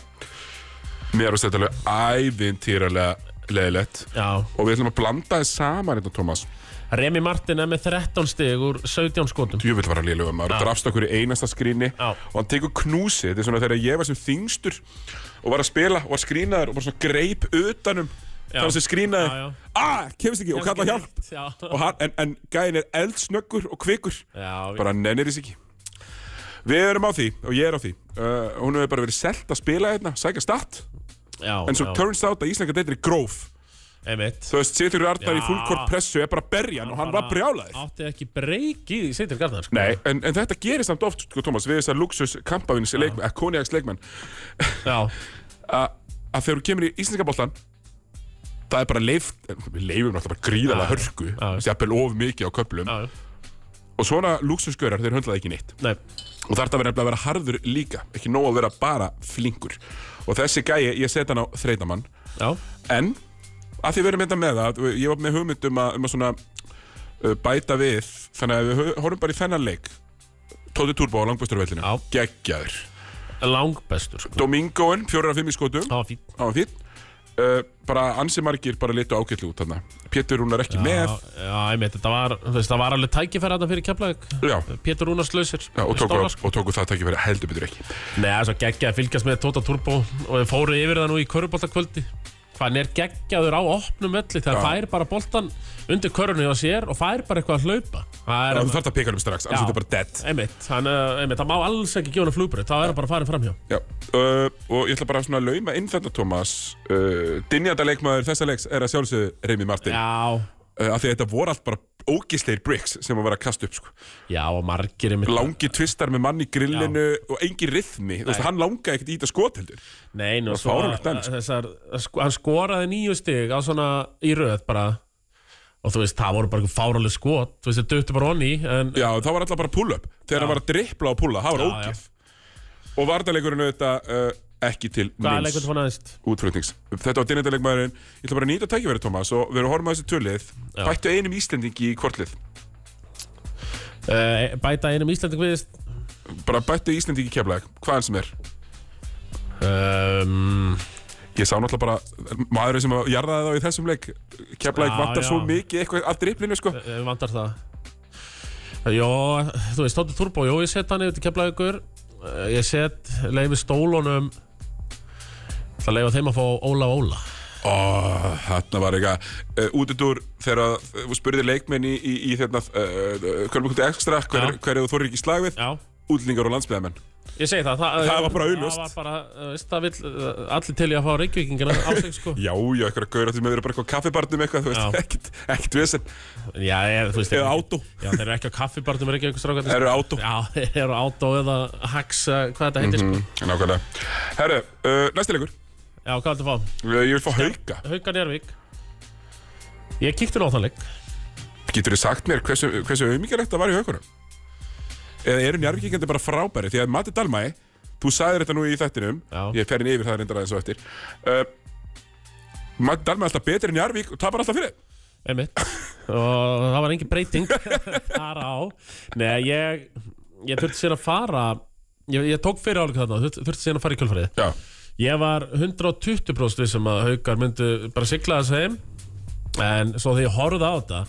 Mér finnst þetta alveg ævintýralega leiðilegt
Já,
Og við ætlum að blanda þess saman hérna, Thomas
Remi Martin er með 13 stig úr 17 skotum
Jú vil vara liðlega, maður drafst okkur í einasta skrýni
Já.
Og hann tekur knúsi, þetta er svona þegar ég var sem þingstur Og var að spila og var skrýnaður og bara svona greip utanum
Já.
Þannig sem
Já, já.
skrýnaður Ah, kemst ekki og kalla hjálp
Já,
Og hann, en, en gæin er eldsnöggur og kvikur
Já,
bara nennir þess ekki Við erum á því og ég er á því uh, Hún hefur bara verið selt að spila hérna, sækja start
já,
En svo
já,
turns out að Íslandka deildin er gróf
einmitt
Þú veist, Sittur Arnar í
Já.
fullkort pressu er bara berjan og hann var brjálaðir
Átti ekki breyk í því Sittir Garðar sko.
Nei, en, en þetta gerir samt oft, sko, Thomas, við þessar luxus kampavinnis leikmenn, að koniaks leikmenn
Já,
a- að þegar þú kemur í Íslandska boltan það er bara leif við leifum alltaf bara gríðalega
Já.
hörku
Já.
sem jafnvel of mikið á köplum
já,
og svona luxusgörar þeir höndlaði ekki neitt
nei
og þarf þetta verið að vera harður líka ekki nóg að vera bara flinkur og þessi gæi, ég set hann á þreitamann
Já,
en að því við erum hérna með það ég var með hugmynd um að, um að svona uh, bæta við þannig að við horfum bara í þennan leik Tóti Turbo á langbæsturvellinu
Já.
geggjaður
langbestur sko.
Domingoen, 4-5 í skotum
Það var fínt
hann var fín uh, bara ansi margir bara litu ágætlu út þarna Pétur hún er ekki með
Já, já, einmitt, þetta var, þú veist, það var alveg tækifæraðna fyrir Keflavík
Já.
Pétur Rúnars lausir
Já, og, tóku,
Stórar, sko.
og tóku það takk fyrir heldur betur ekki
Nei, það er svo geggjað að fylgjast með Tóta Turbo og þau fóru yfir það nú í körubóltakvöldi hvað hann er geggjaður á opnum öllu
Já.
þegar fær bara boltan undir körunni á sér og fær bara eitthvað að hlaupa
Já,
Það
þú
er
þarf það að pika hann um strax, annars
Já.
er þetta bara dead
einmitt, hann, uh, einmitt, það má alls ekki gefa hann flugbröð þá er hann bara farin framhjá
Já, uh, og ég ætla bara svona að lauma inn þetta, Tómas. Uh, Dinjandaleikmaður þessa leiks er að sjálfsögðu Reymi Martin.
Já,
Uh, af því að þetta voru allt bara ógisleir bricks sem að vera að kasta upp, sko.
já og margir einmitt
Langi tvistar með mann í grillinu og engin rithmi. Þú veist, hann langaði ekkert í þetta skot, heldur.
Nei, nú
var
svo
fáránlegt dæmi, sko.
þessar, sko- hann skoraði nýju stig á svona í röð bara og þú veist, það voru bara fáraleg skot þú veist, það döttu bara honni en
Já, þá var alltaf bara pull-up. Þegar hann var að drippla og pulla, það var
Já,
ógið. Og vardalegurinn auðvitað uh, ekki til
hvað er leikundu fann aðeins?
útflutnings. Þetta var dinjandaleikmaðurinn. Ég ætla bara að nýta tækifæri, Tómas, og við erum að horfa með þessi tölið.
Já.
Bættu einum Íslendingi í kortlið.
Uh, bæta einum Íslanding við
Bara bættu Íslendingi í keflag, hvaðan sem er.
um,
Ég sá náttúrulega bara maðurinn sem að jarðaði þá í þessum leik Keflæk
Já,
vantar
já.
svo mikið eitthvað af driplinu sko
uh, vandar það Jó, þú veist, Tóti Turbo, jó, ég set hann yfir til Keflavíkur uh, ég set, leiði stólunum það leiði þeim að fá Óla Óla
Ó, þarna var eitthvað uh, Útudur þegar að, uh, þú spurði leikmenn í, í, í þetta uh, Körmukundi Ekstra hver,
Já.
hver þú þorir ekki í slag við
Já,
Útlendingar og landsbyðamenn
Ég segi það Það,
Það var bara augljóst.
Það var bara, uh, veist, það vill uh, allir til í að fá reykvíkingina á sig sko
Já, já, eitthvað gauður að því með verið bara eitthvað á kaffibarnum eitthvað, þú veist,
Já.
ekkert, ekkert vesen
(laughs) Já, ég, þú veist
Eða
þeir-
átó,
Já, þeir eru ekki á kaffibarnum reykvíkustrákarnir
það eru átó
sko. Já, þeir eru átó eða hax uh, hvað þetta heitir
Mm, Nákvæmlega Herru, uh, næsti leikur,
sko Já, hvað þetta fá?
Uh, ég vil fá hauka
Haukan Jærvík Ég kíkti nú á þann leik
Getur þið sagt mér hversu, hversu auðmíkjalegt það var í haukunum? Eða eru njárvíkingandi bara frábæri? Því að Mati Dalmæ, þú sagðir þetta nú í þættinum,
Já.
ég fer inn yfir það reyndar aðeins og eftir. Uh, Mati Dalmæ er alltaf betri en Njárvík og tapar alltaf fyrir.
Einmitt Og það var engin breyting (laughs) Þar á Nei, ég Ég þurfti síðan að fara Ég, ég tók fyrir áleika þarna þurfti, þurfti síðan að fara í kjölfarið
Já,
Ég var 120% vissum um að haukar myndu bara sigla þessu heim en svo þegar ég horfði á þetta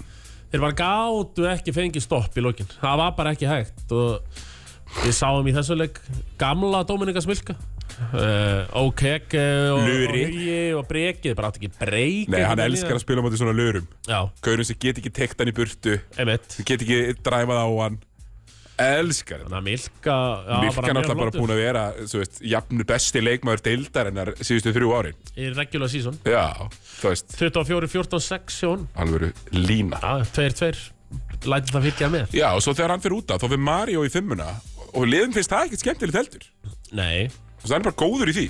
þeir bara gátu ekki fengið stopp í lokin það var bara ekki hægt og við sáum í þessu leik gamla Dominika Smilka uh, Ókek uh, og
Luri.
og Hugi og Breki Þeir bara átt ekki breyki
Nei, hann elskar að spila á móti svona lörum
Já,
Gaurin sem get ekki tekt hann í burtu
einmitt
Get ekki dræfað á hann Elskar þetta
Þannig að Milka já,
Milka
mjög
náttúrulega bara
flottur.
búin að vera þú veist, jafn besti leikmaður deildarinnar síðustu þrjú árin
Í regular season
Já, þú veist,
24, 14, 6 sjón
alvöru lína
Já, 2, 2 Lætum það virkja með
Já, og svo þegar hann fyrir út af, þá fyrir Mario í fimmuna og liðum finnst það ekkert skemmtilegt heldur
Nei,
þannig að hann er bara góður í því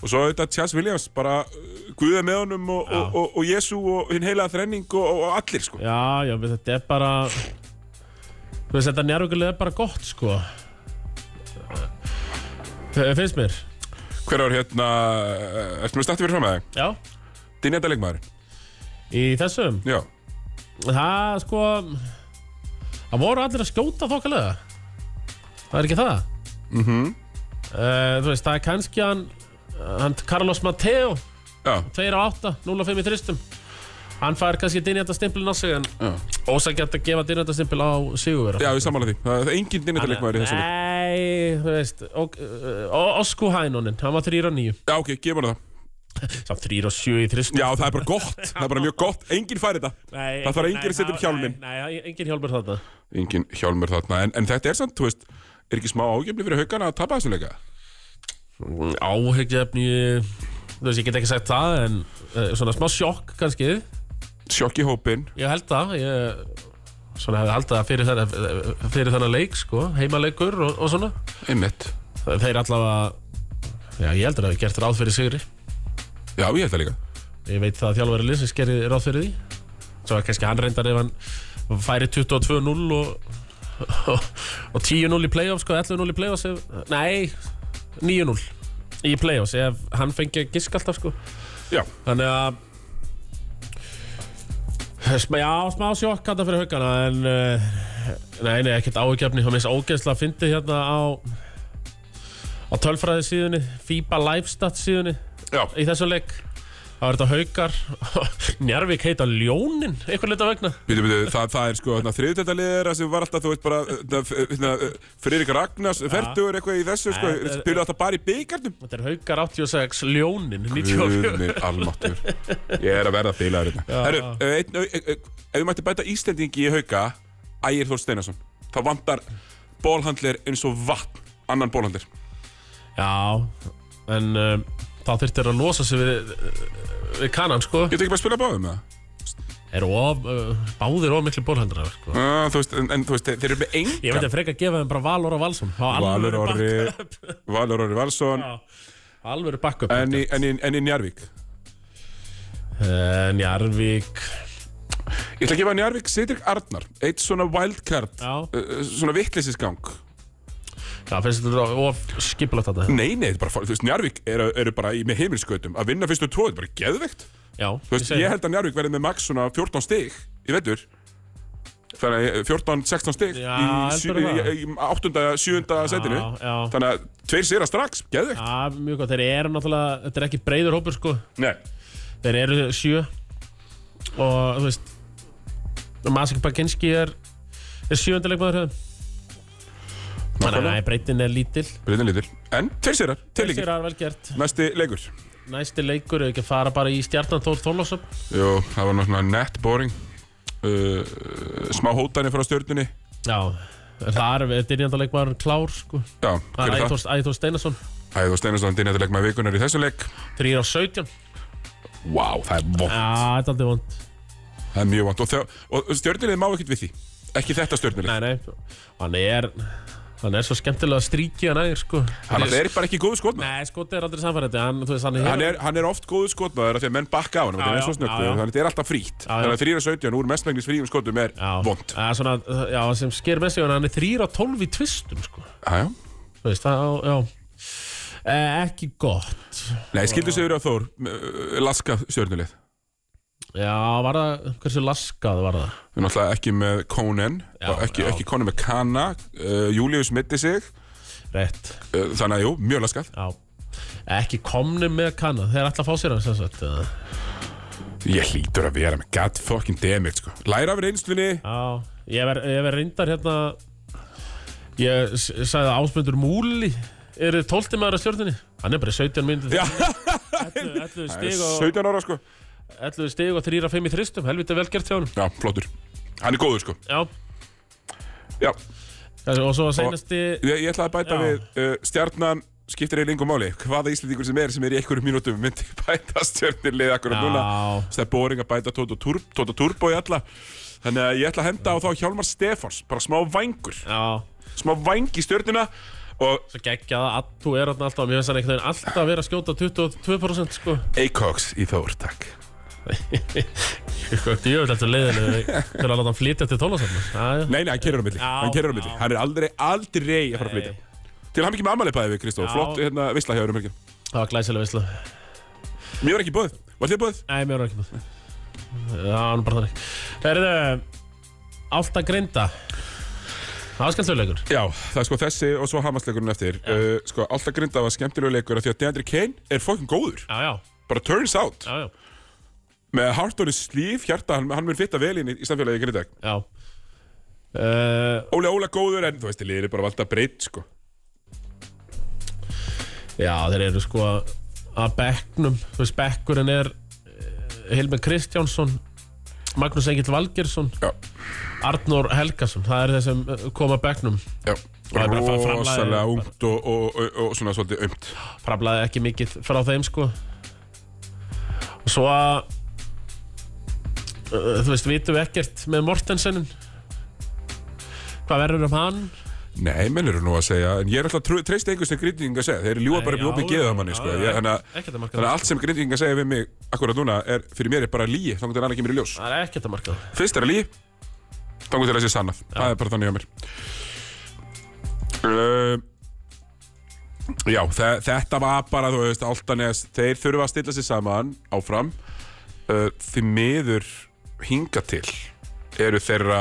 og svo þetta Chas Williams bara uh, guða með honum og, og, og, og Jesu og hinn heila þrenning og, og, og allir sko
já, já, við þetta er bara Þú veist, þetta njárvíkulega er bara gott, sko F- Finnst mér
Hver var hérna, uh, ertu með startið fyrir fram að þig?
Já,
Dinjanda leikmaður,
í þessum
já
Það, sko Það voru allir að skjóta þokkalega Það er ekki það
Mhm.
mm Þú veist, það er kannski hann, hann Carlos Mateo
Já,
2 á 8, 0 á 5 í þristum Hann fær kannski dynjönda stimpilin á sig en
Já.
ósækjart að gefa dynjönda stimpil á Sigurverða
já, við samanlega því Það það er engin dinjanda leikmaður í þessu leik
Nei, þú veist og, uh, og, Osku Hænonin, hann var 3 og 9
Já, ok, gefur hann það
Samt 3 og 7 í þristum
Já, það er bara gott, það er bara mjög gott Engin fær þetta,
Nei,
það þarf engin að setja upp hjálminn
Nei, nei, engin hjálmur þarna
Engin hjálmur þarna, en, en þetta er samt, þú veist Er ekki smá ágefni fyrir haugana að tapa þessu leika? Mm,
Áhyggjefni Þú veist, ég get ekki sagt það en uh, svona smá sjokk kannski
Sjokk í hópin,
Ég held það ég, Svona hefði haldið það fyrir, þennan- fyrir þennan leik sko, heimaleikur og, og svona
einmitt
Þeir allavega Já, ég heldur að við gert ráð fyrir sigri
Já, ég held það líka
Ég veit það að þjálfari liðsins gerir ráð fyrir því Svo að kannski hann reyndar ef hann færi 22-0 og, (laughs) og, og 10-0 í playoffs sko, 11-0 í playoffs ef, Nei, 9-0 í playoffs ef hann fengi að giska alltaf sko
Já,
Þannig að Sma- Já, smá sjokk hann fyrir haugana en uh, nei, nei, ekkert áhugjafni þá minnst ógeðslega að fyndi hérna á á tölfræði síðunni FIBA Livestat síðunni
já,
í þessum leik það var þetta haukar (laughs) Njarvík heita Ljónin einhvern leita vegna
býtu, býtu, það, það er sko þriðutendaliðra sem var alltaf, þú veist bara hérna, f- hérna, Friðrik Ragnars, Fertur, eitthvað í þessu sko,
Nei, þetta er-
spilu alltaf bara í byggarnum
þetta er haukar 86 Ljónin 94
Guðni almattur Ég er að verða bilaður hérna Herru,
já.
eh, einn- eh, eh, ef við mætti bæta Íslendingi í hauka Ægir Þór Steinarsson þá vantar bólhandlir eins og vatn annan bólhandlir
já en um, þá þurftir að losa sig við, við kanan sko
Getur ekki bara að spila báðum með það?
er of, uh, báðir of miklu bólhendrar sko.
Uh, þú veist, en, en þú veist, þeir, þeir eru með
ég veit
engan
að freka að gefa þeim bara Valur og Valsson Fá
Valur
alvöru
Orri Valur Orri Valsson
back- alvöru backup
en í, en, í, en í Njarvík
Eh, Njarvík
Ég ætla að gefa Njarvík Sidrik Arnar Eitt svona wildcard
Já.
uh, uh, Svona vitleisisgang
það finnst þetta of skipulagt þetta
Nei, nei, þetta er bara, þú veist, Njarvík eru, eru bara í, með heimilskautum Að vinna fyrstu tvo, þetta er bara geðvegt
já,
Þú veist,
segi
ég
það.
held að Njarvík verði með max svona 14 stig í vetur Þannig að 14-16 stig
Já,
í, sjö,
heldurðu það?
í, í 8. 7. setinu
já, já.
Þannig að tveir sýra strax, geðvikt
Já, mjög gott, þeir eru náttúrulega, þetta er ekki breyður hópur sko,
Nei,
þeir eru sjö og þú veist, Masik Baginski er, er sjöundarleikmaður höfum. Þannig að
Nákvæmlega.
nei, breytin er lítil,
breyðin lítil En tveir sýrar, tveir
þeir
líkir,
eru vel gert.
næsti leikur
Næsti leikur er ekki að fara bara í stjarnan Þór Þórlásson.
Jú, það var náttúrulega net boring uh, Smá hótanir frá stjörnunni
Já, þar er dyrjandarleikmaður klár sko,
Já,
það
hver
er
er það?
Æþór- Æþór Steinarsson,
Æðið og Steinarsson dynjættileg með vikunar í þessum leik
3 á 17.
Vá, það er vond,
Já, þetta er aldrei vond.
það er mjög vond Og, þjó- og stjörnunni má ekkert við því Ekki þetta stjörnunni
Nei, nei, hann er, hann er svo skemmtilega stríkið hann ægir sko.
Hann er bara ekki góð skotna
Nei, skotið er aldrei samfærandi, hann, þú veist, hann
hann er, hann er oft góðu skotmaður af því að menn bakka á hann og
Já,
það er svo
já,
snöggur,
já, já.
þannig að þetta er alltaf frýtt
já.
þannig að 3 17 úr mestmengnis fríum skotum er
Já.
vond
Já, svona, já, sem sker með sig hann, hann er 3 á 12 í tvistum, sko.
já, já.
Þú veist, það, já. E, ekki gott.
Nei, skildu sigur á Þór eh, Laska stjörnulið,
Já, var það, hversu laskað var það?
við erum alltaf ekki með Conan,
Já,
og ekki,
já.
ekki Conan með Kana uh, Július mitti sig uh,
Rétt,
þannig að jú, mjög laskað
já. Ekki komni með kanna, þeir ætla að fá sér hann, sem sagt. eða?
ég hlýtur að vera með god fucking damn it sko. læra af reynslunni
Já, ég verð ver reyndar hérna, ég s- sagði að Ásmundur Múli eru 12 maður að stjórninni hann er bara 17 myndið
Já.
11,
Það
11
er
stig og
17 ára sko
11 stig og 3 að 5 í þristum helviti vel gert hjá hann
Já, flottur Hann er góður sko
já
Já,
og svo senasti
ég, ég ætla að bæta
Já.
við uh, Stjarnan skiptir eiginlega engum máli Hvaða Íslendingur sem er sem er í einhverjum mínútum myndi (laughs) bæta stjörnirlið akkurat núna
já
Það er boring að bæta Tóta Turbo, Tóta Turbo í alla Þannig að ég ætla að henda á þá Hjálmar Stefáns Bara smá vængur
já
Smá væng í stjörnina Og
svo geggjaða að þú er hann alltaf mér finnst hann einhvern veginn alltaf vera að skjóta 22% sko
Eikox í Þór, takk
Eitthvað djöfull eftir leiðinu Þeir að láta hann flytja til tólasafn
Nei, nei, hann kerir á milli
Já,
Hann kerir á milli
já.
Hann er aldrei, aldrei að fara að
Nei.
flytja Til hann ekki með ammali bæði við, Kristó
Já.
Flott, hérna, visla hjá Römerkin
Það var glæsilega veisla
Mér var ekki búið, var þið búið?
Nei, mér var ekki búið Já, hann er bara þannig Herðu Alta grinda Það var skemmtilegur
Já, það er sko þessi og svo Hamasleikurinn eftir uh, Sko, alltaf grinda var skemmtilegu leikur af Því að Deandre Kane er fokkin góður
Já, já,
Bara turns out
já, já,
Með hártónu slíf, hjarta, hann, hann mun fitta vel inn í, í samfélagi í grindag
já. Uh,
Óli Óla góður en þú veist, liðir er bara valda breytt sko
Já, þeir eru sko að bekknum, þú veist, bekkurinn er eh, Hilmir Kristjánsson Magnús Engill Valgersson
Já,
Arnór Helgason, það er þeir sem eh, koma að bekknum
já
Það er bara að framlagið-
Rosalega ungt og, og, og, og svona svolítið umt
framlaði ekki mikið frá þeim sko og svo að uh, þú veist, vitum við ekkert með Mortensenin hvað verður um hann
Nei, menn eru nú að segja En ég er alltaf að treysta einhvers sem grindinga segja Þeir ljúa bara mjög opið geða manni sko Ég- Þannig að
ekkert að marka
Þannig að
það
allt sem grindinga segja við mig akkurat núna er fyrir mér er bara líi, þannig að hann kemur í ljós.
það er ekkert að marka það
Fyrst er að líi, þannig að það sé sannað. Það er bara þannig hjá mér. Uh, já, þe þetta var bara, þú veist, Altanes, þeir þurfa að stilla sig saman áfram. Uh, því miður hinga til eru þeirra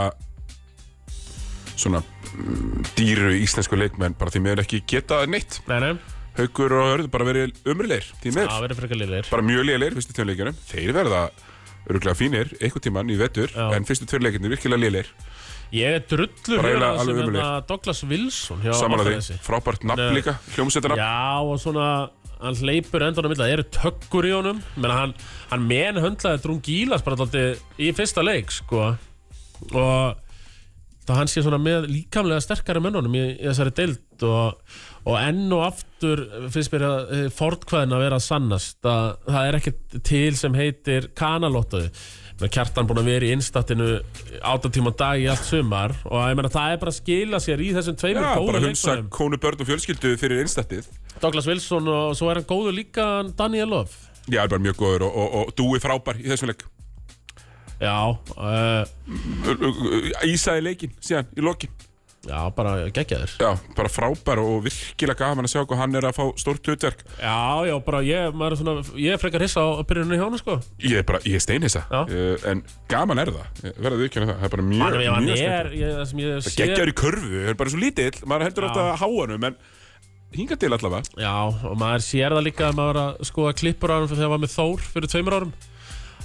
svona mm, dýru íslensku leikmenn bara því miður ekki geta neitt.
nei, nei,
Haukur og Hörður bara verið umrileir, því miður
það verður frekar liðir
bara mjög lélegir fyrstu tveim leikjunum þeir verða öruglega fínir einhvern tíman í vetur
Já.
en fyrstu tveir leikjunum virkilega lélegir
ég er drullur
Bara
hér
eiginlega
að
alveg
sem
ömurlegir.
hérna Douglas Wilson hjá
samanlega því
Álftanesi.
frábært nafn
Nei.
líka hljómsveitarnafn
já og svona hann hleypur endan á milli, það eru tökkur í honum menn hann, hann menn höndlaði Drungilas bara alltaf í fyrsta leik sko og það hann sé svona með líkamlega sterkari mönnunum í, í þessari deild og, og enn og aftur finnst mér að fordkvæðin að vera að sannast að það er ekkert til sem heitir kanalóttuðu menn kjartan búin að vera í innstattinu átta tíma á dag í allt sumar og ég meina það er bara að skila sér í þessum
já,
tveimur
bara hunsa
góðu leikmannum
konu, börn og fjölskyldu fyrir einstættið
Douglas Wilson og svo er hann góður líka hann Daniel Love
já, er bara mjög góður og, og, og dúi frábær í þessum leik
já, uh,
Ísaði leikin síðan í lokin
já bara geggjaður
já, bara frábær og virkilega gaman að sjá hvað hann er að fá stórt hlutverk
já, já, bara ég, maður er svona ég er frekar hissa á byrjunni hjá hann sko
ég er bara, ég er steinhissa
Já.
uh, en gaman er það, Ég verða við ekki það það er bara mjög,
Mannum ég hann
mjög skemmtilegt.
er, ég, það sem ég sé
geggjar í körfu, er bara svo lítill maður heldur
Já.
alltaf að háa hann en hinga til allavega
Já, og maður sér það líka að maður er að skoða klippur á hann fyrir þegar hann var með Þór fyrir tveimur árum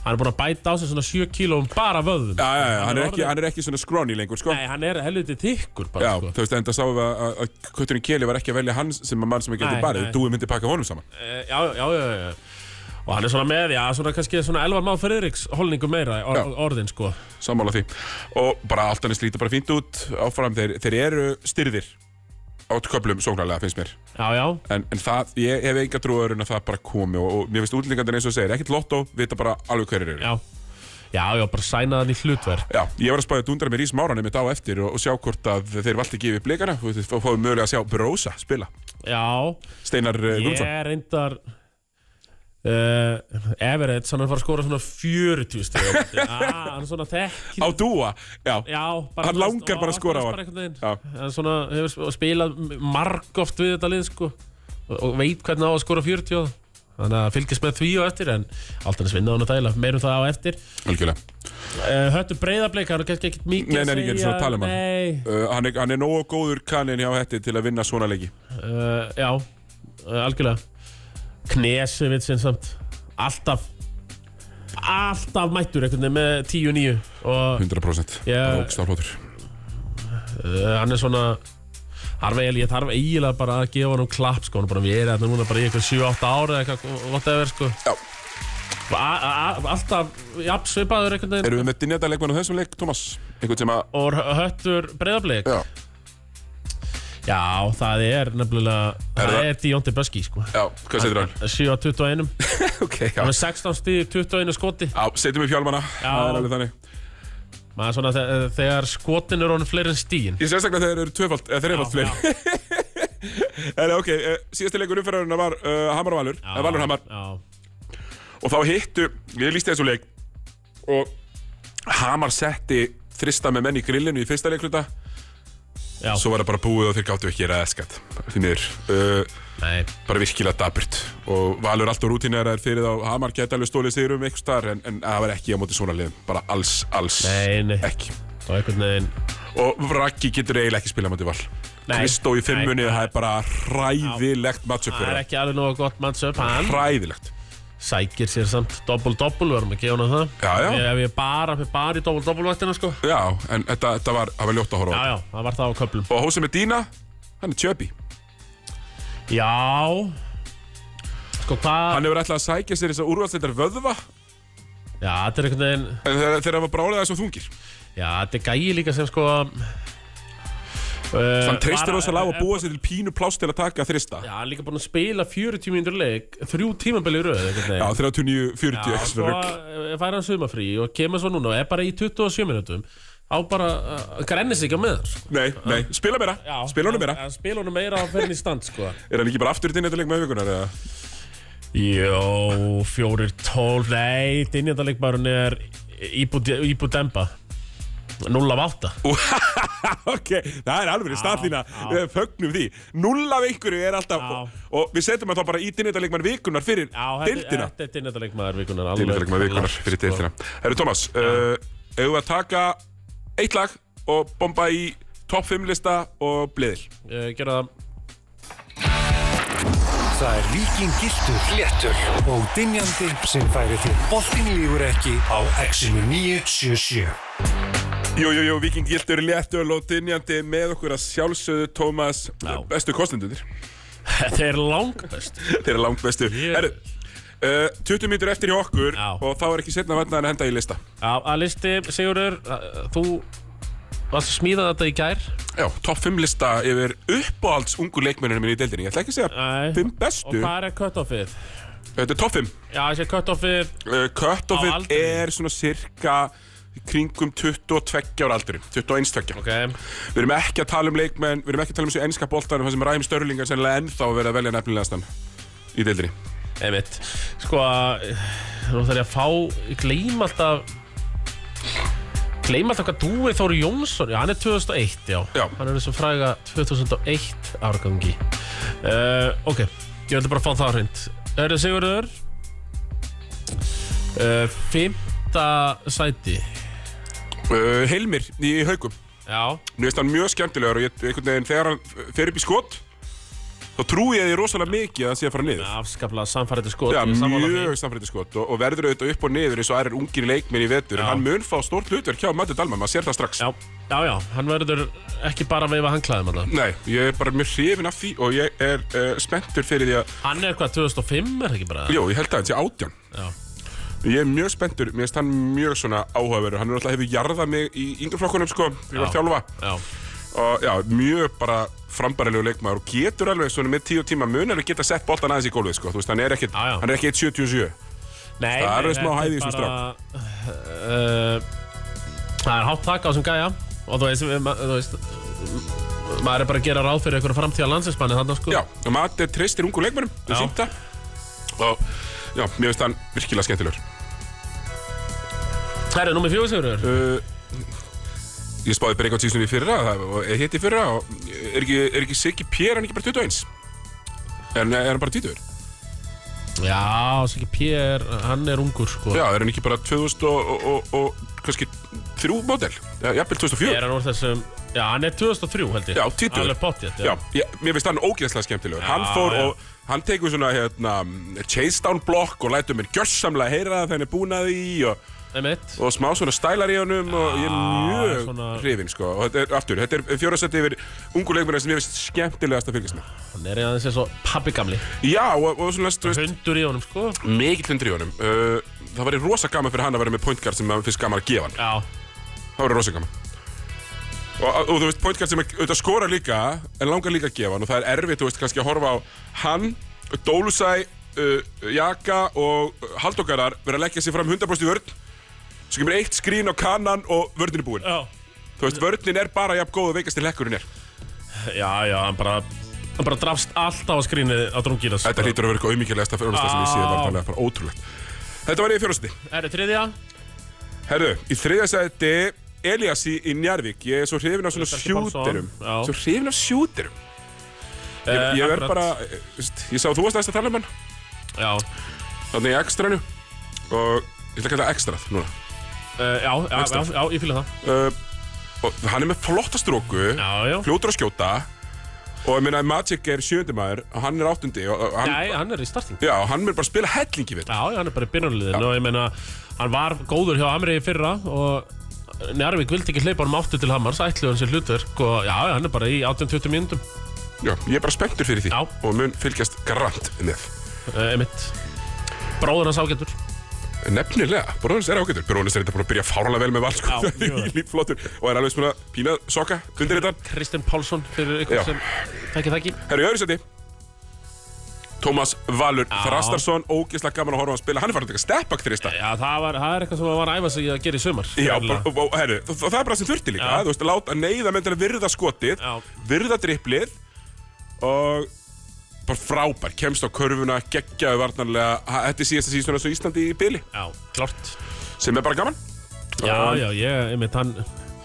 Hann er búin að bæta á sig svona 7 kílóum bara vöðum
já, já, já, hann, er
er
ekki,
orðinn-
hann er ekki svona scrawny lengur sko.
Nei, hann er helviti þykkur bara
já,
sko.
þú veist, enda sáum við að, að- að Kutturinn Keli var ekki að velja hann sem að mann sem að
Nei,
geti barið,
nei.
dúi myndi pakka honum saman
Eh, já, já, já, já, já Og hann er svona með, já, svona kannski svona Elvar Má Friðriks holningu meira or,
Já.
orðin sko
sammála því, og bara allt hann slítur bara fínt út áfram, þeir, þeir eru styrðir át köplum sóknarlega finnst mér,
Já, já,
en, en það ég hef enga trúaður en að það bara komi og, og mér finnst útlendingandir eins og segir, ekkert lottó, vita bara alveg hverjir eru
já Já, já, bara sæna hann í hlutverk
Já, ég var að spáði að dundra mér í smáranum mitt á eftir og, og sjá hvort að þeir valdi ekki yfir blikana og þeir fáið mögulega að sjá Brosa spila
Já,
Steinar uh,
Ég
Guðmundsson
er reyndar uh, Everett, hann er að fara að skora svona 40
(laughs)
stig á móti. Ah, Hann er svona þekkin
á dúa, já,
Já, bara,
Hann langar bara að skora á hann.
hann
Já.
Hann svona hefur sp- spilað marg oft við þetta lið sko og, og veit hvernig á að skora 40 á það. Þannig að fylgjast með því á eftir en alltaf hans vinna hann að dæla, meirum það á eftir
algjörlega
uh, Höttu breyðarbleika, hann er kannski ekkert mikið
Nei, nei,
að
ekki einu
segja,
sinni að tala um hann.
Nei,
uh, hann, er, hann er nógu góður kannin hjá hætti til að vinna svona leiki
Uh, já, uh, algjörlega Knesi við sinn samt Alltaf Alltaf mættur einhvern veginn með 10-9 Og
100%
Já.
yeah.
uh, hann er eh, svona Harfa Eli, ég þarf eiginlega bara að gefa hann um klapp sko, hann er bara verið þarna núna bara í eitthvað 7-8 ára eða eitthvað, whatever sko.
Já.
A- a- a- Alltaf, já, svipaður einhvern veginn
Erum við með dinjata leikmenn á þessum leik, Thomas? Einhvern sem að...
og hö- höttur breyðablík.
Já,
Já, það er nefnilega,
Er
það
það-
er Díóndi Böski sko.
já, hvað setur hann?
7-21,
(laughs) ok, já.
hann er 16 stíð, 21 skoti.
Já, setjum við fjálmana, það er alveg þannig.
Maður svona þe- eh, þegar skotin er honum fleiri en stíðin.
Ég sérstaklega þegar þeir eru tvöfald, eða þreifald fleiri. (laughs) En ok, eh, síðasti leikur umferðarinn var uh, Hamar og Valur, eða Valur Hamar
Já,
og þá hittu, ég lísti þessu leik og Hamar setti þrista með menn í grillinu í fyrsta leikluta
já,
svo var það bara búið og þeir gáttu ekki eða eskat því miður, uh,
nei,
bara virkilega daburt og Valur alltaf rútineraðir fyrir þá Hamar gæti alveg stólið sigur um einhvers þar en, en það var ekki á móti svona liðum, bara alls, alls
nei, nei,
ekki
og einhvern veginn,
og Raggi getur eiginlega ekki spila á móti val
Nei.
Kristó í fimmunni,
Nei.
það er bara hræðilegt matchup
það
fyrir
er
hann.
ekki alveg nógu gott matchup, hann
hræðilegt
sækir sér samt dobbul-dobbul, við erum að gefa hann það.
Já, já.
Ef- Ef ég bara, ef ég bara í dobbul-dobbul-vaktina, sko.
já, en þetta, þetta var, það var ljótt að horfa á
Já, já, það var það á köplum.
og Hosea Medina, hann er tjöpi
Já, sko hvað,
hann hefur ætlað að sækja sér þess að úrvalstættar vöðva en
já, þetta er einhvern veginn,
þegar þegar hann var brálega þessu þungir
já, þetta er gæi líka sem sko...
hann treystir þess að lág að búa sér til pínu pláss til að taka þrista
eh, Já, hann er líka búin að spila 40 mínútur leik, þrjú tímabili í röð, einhvern
já,
veginn.
39, 40
Já,
ekstra
svo
rugg
eh, fær hann sumafrí og kemur svo núna og er bara í 27 minútum á bara, uh, grennir sig ekki á meður sko.
nei, nei, spila meira, spila honum meira
Hann- hann Spila honum meira og fer hann í stand sko
er hann ekki bara aftur í þetta leik með vikunar eða? (laughs)
Jó, fjórir tólf, nei, dinjandalegbarun er Íbú Demba 0 af 8
ok, það er alveg staðlína við fögnum því, null af einhverju er alltaf
Já.
og, og við setjum hann þá bara í dinita leikmann vikunar fyrir dildina
Þetta er dinjandalegmaður vikunar alveg
dinita leikmann vikunar
klárt,
fyrir
sko.
dildina herru Thomas, uh, eigum við að taka eitt lag og bomba í topp 5 lista og bliðil
Eh, Gerðu það
Það er vikingiltur, léttur og dinjandi sem færi þér. Boltin lífur ekki á Exinu 977.
Jú, jú, jú, Viking Gildur, Léttöl og Dynjandi með okkur að sjálfsögðu Tómas
Já.
bestu kostendundir,
(laughs) Þetta er langbest
þeir eru langt bestu
Ég-
Herru, uh, 20 mínútur eftir hjá okkur
Já.
og þá er ekki setna vatna en að henda í lista
Já, að listi, Sigurður, eh, þú varst að smíða þetta í gær
Já, topp 5 lista yfir uppáhalds ungu leikmennunum minni í deildinni, ég ætla ekki að segja
Nei.
5
Og
bestu,
hvað er cut-offið?
þetta er topp 5
Já, þessi cut-offið
uh,
Á
Cut-offið
aldrinum.
er svona cirka í kringum 22 ára aldurinn 21-22
Ok,
Við erum ekki að tala um leikmenn, við erum ekki að tala um þessu ennska boltanum þar sem Ræm Störlingar sennilega ennþá að vera að velja nefnilegastan í deildinni
einmitt Sko, eh, nú þarf ég að fá Ég gleym alltaf Gleym alltaf hvað dúið Þóri Jónsson Já, hann er 2001, já,
Já.
Hann er þessu fræga 2001 árgangi uh, Ok, ég ætla bara að fá það hreint Er það Sigurður? Uh, fymta sæti
uh, Heilmir í haugum
Já,
Mér finnst hann mjög skemmtilegur og ég, einhvern veginn þegar hann fer upp í skot þá trúi ég því rosalega mikið að hann sé að fara niður
afskaplega samfærið sko
Já, mjög samfætti skot og, og verður auðvitað upp og niður eins og aðrir ungir leikminn í vetur
Já.
en hann mun fá stórt hlutverk hjá Matti Dalman, maður sér það strax
Já, já, já, hann verður ekki bara að veifa hangklæðum hann
Nei, ég er bara mjög hrifin af því og ég er uh, spenntur fyrir því að
Hann er hvað, 2005 er það ekki bara?
Jó, ég held að hann sé átján
Já,
Ég er mjög spenntur, mér finnst hann mjög svona áhugaverður Hann er alltaf hefur jarðað mig í yngurflokkunum sko, þegar ég var að
Já.
þjálfa
já,
og já, mjög bara frambærilegu leikmaður og getur alveg svona með tíu tíma mun alveg geta sett boltan aðeins í gólfið sko, þú veist, hann er ekkit,
Já, já.
hann er ekki 177
nei,
Það er
nei,
smá
þetta
hæð í þessum
bara, uh, Það er hátt taka á þessum gæja Og þú veist, ma þú veist Maður er bara að gera ráð fyrir einhverja framtíða landsinsmanni þarna sko
Já, og maður treystir ungu leikmönnum,
Já.
þú sínt það og já, mér finnst hann virkilega skemmtilegur
Herri, númer fjóð sigurður
uh, Ég spáði bara eitthvað tísunum í fyrra það- og ég hitti í fyrra og er ekki, er ekki Siggi Pér, hann ekki bara 21 Er, hann- er hann bara 20?
Já, Siggi Pér, hann er ungur sko
Já, er hann ekki bara 2000 og, og, og, og kannski þrjú módel? Já, jafnvel 2004?
Er hann úr þessum Já, hann er 2003 held ég
Já, tvítugur.
Alveg pottjétt,
Já, ég, mér finnst hann ógeðslega skemmtilegur Hann fór
já.
og hann tekur svona hérna, chase down blokk og lætur mér gjörsamlega heyra það þegar hann er búin að því og
einmitt
og smá svona stælar í honum og ég er mjög svona...
Ah, svona-
hrifin sko og þetta er aftur, þetta er fjórasætti yfir ungu leikmennar sem ég veist skemmtilegast að fylgjast með
Hann er aðeins eins og pappi gamli
Já, og, og svona þú veist,
Hundur í honum, sko
mikill hundur í honum uh, það væri rosa gaman fyrir hann að vera með pointgard sem maður finnst gaman að gefa hann
Já,
það væri rosa gaman og, og, þú veist, pointgard sem er- auðvitað skora líka en langar líka að gefa hann og það er erfitt, þú veist, kannski að horfa á hann, Dólusæ uh, Jaka og Haldokarar vera að leggja sig fram 100% í vörn svo kemur eitt skrín á kannan og vörnin er búin
já
Þú veist, vörnin er bara jafn góð og veikastir lekkurinn er.
Já, já, hann bara Hann bara drafst alltaf á skrínið á drungina sko.
Þetta hlýtur að vera eitthvað auðmíkilegasta fjórnasta sem ég séð
Á.
var talvega bara ótrúlegt. Þetta var ég í fjórnasti.
Herru, þriðja
Herru, í þriðja sæti Eliassi í Njarvík. Ég er svo hrifin af svona
Sterki
sjúterum.
Pálsson, já.
Svo hrifin af sjúterum. Ég,
Eh,
ég verð
akkurat.
bara, eh, veist, ég sá að þú varst aðeins að tala um hann.
Já,
Þannig í ekstranu. Og ég ætla að kalla það ekstrað núna.
uh, já, já, já, já, ég fýla það
Uh, og hann er með flotta stróku,
Já, já
fljótur að skjóta. Og ég meina, Magic er sjöndumæður og hann er áttundi. Og, og hann,
Nei, hann er í starting
já, og hann er bara að spila hellingi við.
Já, já, hann er bara í byrjunarliðinu og ég meina hann var góður hjá Amri í fyrra og Njarvík vildi ekki hleypa honum áttu til Hammars ætlu hann sér hlutverk og já, já, hann er bara í 18-20 mínútum
Já, ég er bara spenntur fyrir því
Já.
og mun fylgjast garant með.
uh, emitt bróður hans ágættur
Nefnilega, Brónis er ágættur. Brónis er þetta búin að byrja fárlega vel með val, sko.
Já,
Það er (laughs)
mjög vel.
líf flottur og er alveg svona pína soka undir þetta.
Kristinn Pálsson fyrir ykkur
Já.
sem þekki þekki
Herru, í öðru seti, Tómas Valur Þrastarsson, ógeðslega gaman að horfa á hann spila. Hann er farin að taka steppak þrista.
Já, það, var, það er eitthvað sem hann var að æfa sig í að gera í sumar
Já, og,
greinilega.
og, herru, og það er bara sem þurfti líka.
Já.
Þú veist, láta neyða myndin að virða skotið,
Já.
virða dripplið og bara frábær, kemst á körfuna, geggjaðu varnarlega. Ha- Þetta er síðasta síðan svo Íslandi í byli,
já, klart
sem er bara gaman.
Já, já, ég, emitt, hann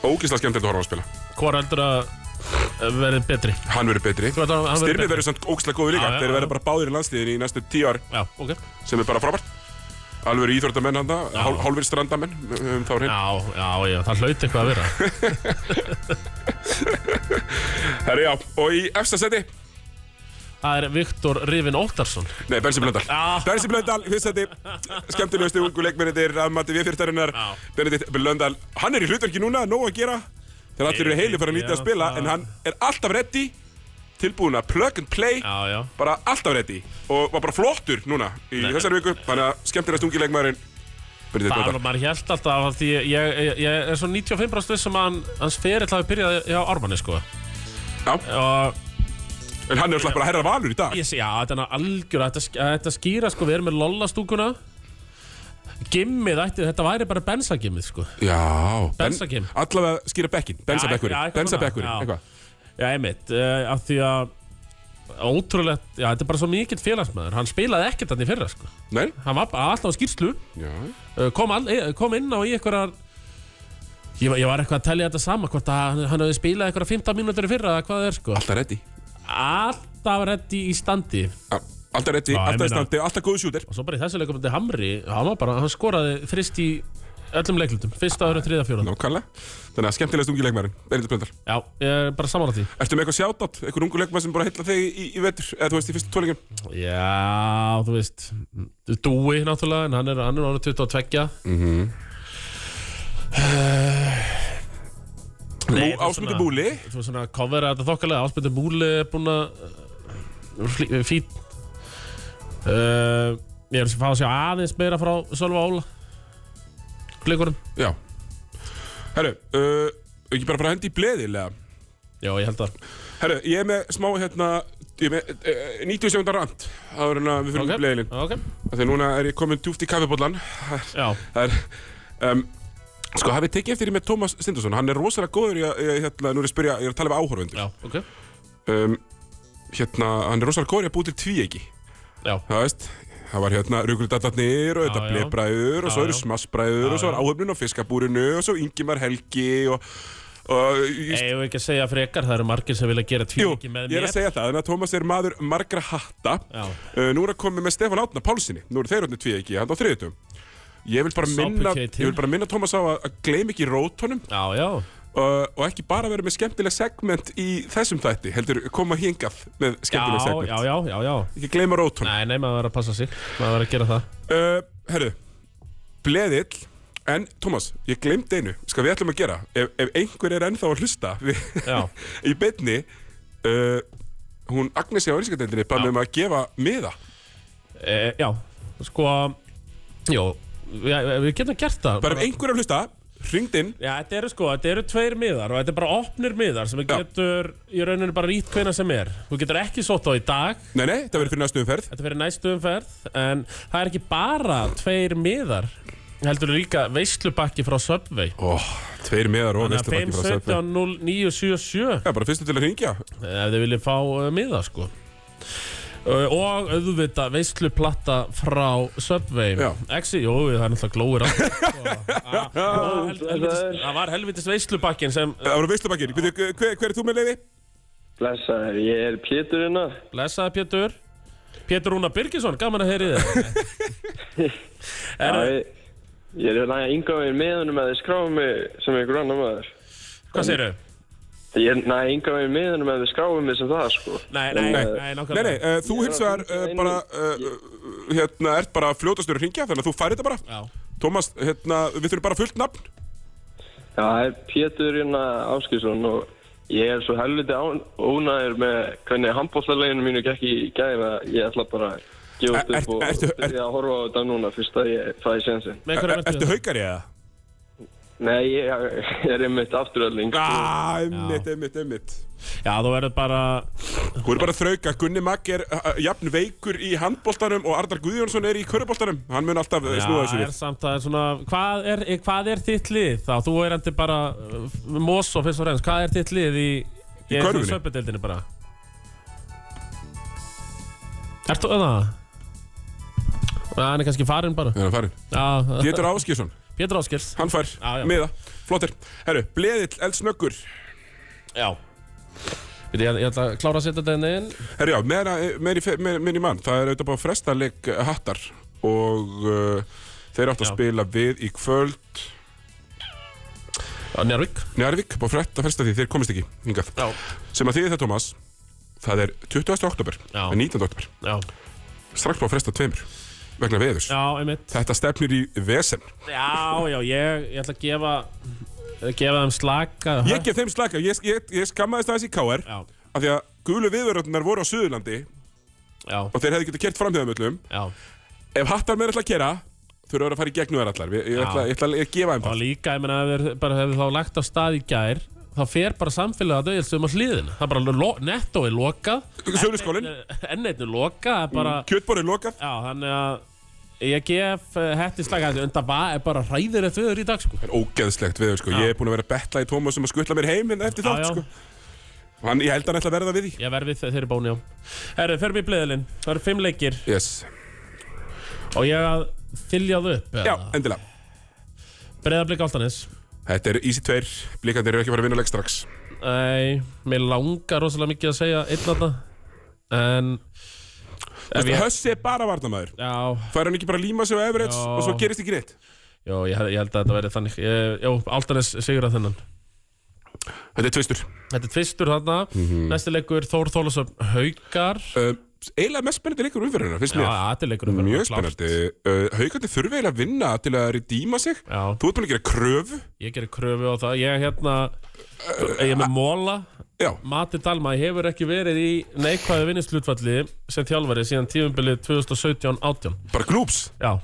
Ógeðslega skemmtilegt að horfa á að spila
hvort heldur að eh, verði betri
Hann verður betri
Þú heldur að hann verði
Styrmi
betri?
verður samt ógeðslega góður líka
Já, já,
Þeir
já.
verða bara báðir í landsliðinu í næstu tíu ár
Já, ok
sem er bara frábært Alveg íþórtamenn hann það, hál, hálfur strandamenn um, þá hrein.
Já, já, já, það hlaut eitthvað að vera
Herri já, og í efsta seti
Það er Viktor Rivin Óttarsson
Nei, Bensi Blöndal
Já.
Bensi Blöndal, í fyrsta seti Skemmtilegustu ungu leikmennir að mati viðfyrtarinnar
Já.
Benedikt Blöndal Hann er í hlutverki núna, nóg að gera Þegar allir eru heilir fyrir að nýta að
Já,
spila
það-
En hann er alltaf ready Tilbúin að plug and play
Já, já
Bara alltaf ready Og var bara flottur núna í þessari viku Þannig að skemmtilegast ungi leikmennirinn Benedikt
Það
Blöndal
var maður held alltaf að því ég, ég, ég er svo 95% vissum um að hann, hans ferill hafi byrjað hjá Ármanni sko
Já.
og
En hann er alltaf bara að herra valur í dag
ég sé, já, þetta er algjör þetta, sk- þetta skýra sko, við erum með lollastúkuna Gimmið, ætti, þetta væri bara bensagimmið sko
Já
Bensakim.
Allavega skýra bekkin
Já, já,
Bensabekkurinn
eitthvað
Bensabekkurinn
svona, já.
Eitthvað
Já, einmitt, uh, af því að ótrúlegt, já, þetta er bara svo mikill félagsmaður hann spilaði ekkert hann í fyrra sko
Nei
hann var bara alltaf á skýrslu
Já
uh, kom, all, eh, kom inn á í einhverjar ég, var- ég var eitthvað að telja þetta sama hvort að hann, hann hefði spilað einhverjar 15 mínútur í fyrra eða hvað það er sko
Alltaf reddi
alltaf reddi í standi og
Alltaf reddi
Já, ég
Alltaf í
meina-
standi Alltaf góðu sjútir
svo bara í þessu leikum þetta Hamri, hann var bara, hann skoraði frist í öllum leiklutum, fyrsta, öðru, þriða, fjóra
Nákvæmlega Þannig að skemmtilegast ungi leikmærin Benedikt Blöndal
já, ég er bara saman á því
Ertu með eitthvað sjátátt Eitthvað ungu leikmæri sem bara heilla þig í, í vetur Eða þú veist í fyrstu tólingum
já, þú veist Dúi náttúrulega, en hann er, hann er orðið 22 mm -hmm.
Mú- Ásmundur Búli
þú veist svona covera þetta þokkalega Ásmundur Múli er búinn að uh, flý- uh, fín uh, ég er að fá að sjá aðeins meira frá Sölva Óla fleikurum
Já Herru uh, Ekki bara fara að hendi í bleðil eða
já ég held að
Herru, ég er með smá hérna Ég er með uh, 90 sekundar rand Áður en að við fyrir
Ok,
okay. bleðilinn
ok
Þegar núna er ég komin djúft í kaffibóllan
já
Það er um, Sko, hafið tekið eftir því með Tómas Stindarsson Hann er rosalega góður í að, í að hérna, nú er ég að spyrja, ég er að tala við áhorfundur
já ok
um, Hérna, hann er rosalega góður í að búi til tvíegi
já
Það veist, það var hérna rugguldatatnir og þetta
Já, já.
blebræður og svo
Já,
eru
já.
smassbræður og svo er áhöfnin á fiskabúrinu og svo Ingimar Helgi og, og just,
eigum við ekki að segja frekar það eru margir sem vilja gera
Jú,
tvíleiki með
ég er að segja það, þannig að Tómas er maður margra hatta
Já.
uh, Nú er að koma með Stefán Átna Pálsini Nú eru þeir orðnir tvíegi, hann á þriðutum Ég vil bara minna,
Sopuketinn.
ég vil bara minna Tómas á að, að gleym ekki rótunum
já já
uh, og ekki bara vera með skemmtileg segment í þessum þætti, heldur koma hingað með skemmtileg
já
segment.
já já já já
Ekki gleyma rótun.
nei nei maður verður að passa sig maður verður að gera það
Uh, herru, Bleðill En Tómas, ég glemt einu Ska við ætlum að gera Ef, ef einhver er ennþá að hlusta (laughs) við,
Já. (laughs)
Í beinni uh, Hún Agnesi á Ísikadeldinni Bannum um að gefa miða
e, Já, sko Jó, við, við getum gert það
Bara ef einhver er að hlusta Hringd inn
Já, þetta eru sko, þetta eru tveir miðar og þetta er bara opnir miðar sem við
Já.
getur í rauninu bara ít hvena sem er Þú getur ekki sótt á í dag
Nei, nei, það verður fyrir næstu umferð
Þetta verður næstu umferð En það er ekki bara tveir miðar Heldur líka veislubakki frá Subway
Ó, tveir miðar og
Þannig að
veislubakki frá Söfn
5.17.09.77
Já, bara fyrstu til að hringja
Ef þið viljið fá uh, miða sko Uh, og auðvitað veisluplatta frá Subway
Já.
Exi, jú, það er náttúrulega glóir allt sko. Ah, það var hel- helvitis- Það var helvitis veislubakkinn sem
Það voru veislubakkir hver, hver, hver er þú með leiði?
Blessaður, ég er Pétur hérna.
blessaði Pétur Pétur Rúna Birgisson, gaman
(laughs)
að heyri þið
Já,
er,
ég- Ég er hérna að ynga mér með honum að þið skráum mig sem einhver annar maður.
Hvað segirðu?
Ég er að ynga mér með honum að þið skráum mig sem það, sko.
Nei, nei, nei, nei,
Nei, nei,
nákvæmlega
uh, þú hins vegar uh, bara uh, uh, Hérna, ert bara fljótastur að hringja Þannig að þú færi þetta bara
Já.
Tómas, hérna, við þurfum bara fullt nafn
Já, það er Pétur hérna Áskilsson og ég er svo helviti án- ónæður með hvernig handbóllaleginu mínu gekk í gæði að ég ætla bara að gefa
Er-
upp og
ertu- ertu-
byrja að horfa á þetta núna fyrst að ég fæði sénsinn.
Með
Er-
hverjum
Eh, Ertu
ertu?
haukari eða?
Nei, ég, ég er einmitt afturölding.
Ah, einmitt, einmitt, einmitt
Já, þú verður bara
Þú er bara að þrauka, Gunni Magg er uh, uh, jafn veikur í handbóltanum og Arnar Guðjónsson er í köruboltanum. Hann mun alltaf uh,
Já,
snúa þessu
það er
við.
samt að svona Hvað er, eh, hvað er þitt lið þá? Þú er endi bara uh, Mós og fyrst og reyns Hvað er þitt lið í Í
körfunni?
Söpindeldinu bara Ertu það? Já, hann er kannski farinn bara
Það er farin.
Já,
Pétur Áskísson,
Pétur Áskers
hann fær
Já, já.
miða. Flottir. Herru, Bleðill Eldsnöggur.
Já Veit, ég, ég ætla að klára að setja þetta hérna inn einn
Herru, já, meira, meira, í fe- meira, meira í mann. Það er auðvitað bara frestaleg hattar og uh, þeir áttu að
Já.
spila við í kvöld.
Njárvík
Njarvík, bara frett að fresta því, þeir komist ekki hingað.
Já,
Sem að því þetta, Tómas, það er 20. oktober,
Já.
19. oktober.
já,
Strax bara að fresta tveimur vegna veðurs.
já, einmitt
Þetta stefnir í vesen.
Já, já, ég, ég ætla að gefa að gefa þeim slaka
Ég gef þeim slaka, ég, ég, ég skammaðist aðeins í KR
Já,
af því að gulu viðvörðunar voru á Suðurlandi
já,
og þeir hefði getið kert framhjöðum öllum
já
Ef hattar meira ætla að kera þurfa þeir að fara í gegnum þær allar Ég, ég, ætla, ég ætla að gefa þeim
Og
það
líka, ég meina, ef þeir bara hefur þá lagt á stað í gær þá fer bara samfélagið að dögjelst um á hliðin það er bara lo, netto er lokað
Söluskólin,
enneitnu lokað það er bara,
kjötborðin lokað
já, þannig að ég gef eh, hetti slaka en það va- er bara hræðir eftir viður í dag sko.
En ógeðslegt viður sko, ég er búin að vera að betla í Tómas um að skutla mér heim hérna eftir
Já,
þátt
já.
sko Og Hann, ég held að hann ætla að verða við því
ég verð við þe- þeirri bóni á herru, förum í bleðilinn, það eru fimm leikir
Yes,
og ég að þylja þau upp
já, endilega
breyðablík áltanis
Þetta eru Easy 2, blikandir eru ekki að fara að vinna leik strax
Nei, mér langar rosalega mikið að segja einn af það En ef ég,
Hössi er bara varnamæður
Já,
Fær hann ekki bara að líma sig á Everett
Já.
og svo gerist ekki neitt
já ég, held- ég held að þetta verði þannig ég, Jó, Aldanes sigur að þennan
Þetta er tvistur
Þetta er tvistur þarna
Mhm.
Næsti leikur Þór Þólasöfn Haukar Já,
uh, Eiginlega mest spennandi leikur umfyririna, finnst mér
þetta er leikur
Mjög spennandi. Uh, Haukandi þurfi eiginlega að vinna til að redeema sig.
Já,
Þú ert búin að gera kröfu.
ég gerir kröfu á það Ég er hérna Ég er með móla
Já,
Mati Dalma hefur ekki verið í neikvæðu vinnislutfalli sem þjálfari síðan tífumbilið 2017-18
bara glúps.
Já,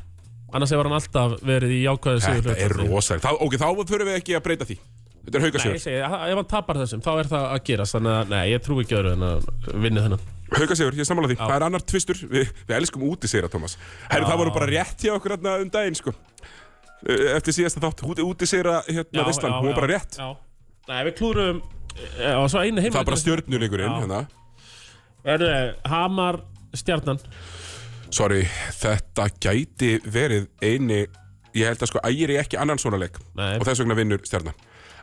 annars hefur hann alltaf verið í jákvæðu sigur
Þetta er rosalega. Þá, ok, þá þurfum við ekki að breyta því. Þetta er
Nei, ég
Haukasigur.
segi, að- ef hann tapar þessum, þá er það að gerast Þannig að, nei, ég trú ekki öðru en að vinni þennan
Haukasigur, ég sammála því. Það er annar tvistur. Vi, við elskum úti, segir að Thomas. Herru, það voru bara rétt hjá okkur hérna um daginn, sko. Uh, Eftir síðasta þátt, úti, úti segir að hérna Vestland, hún var bara rétt.
já. Nei, við klúrum Og svo einu heimil
Það er bara stjörnuleikurinn,
Já.
hérna.
Hamar, stjarnan
Sorry, þetta gæti verið eini, ég held að sko ægir ég ekki annan svona leik
Nei.
og þess vegna vinnur stjarnan.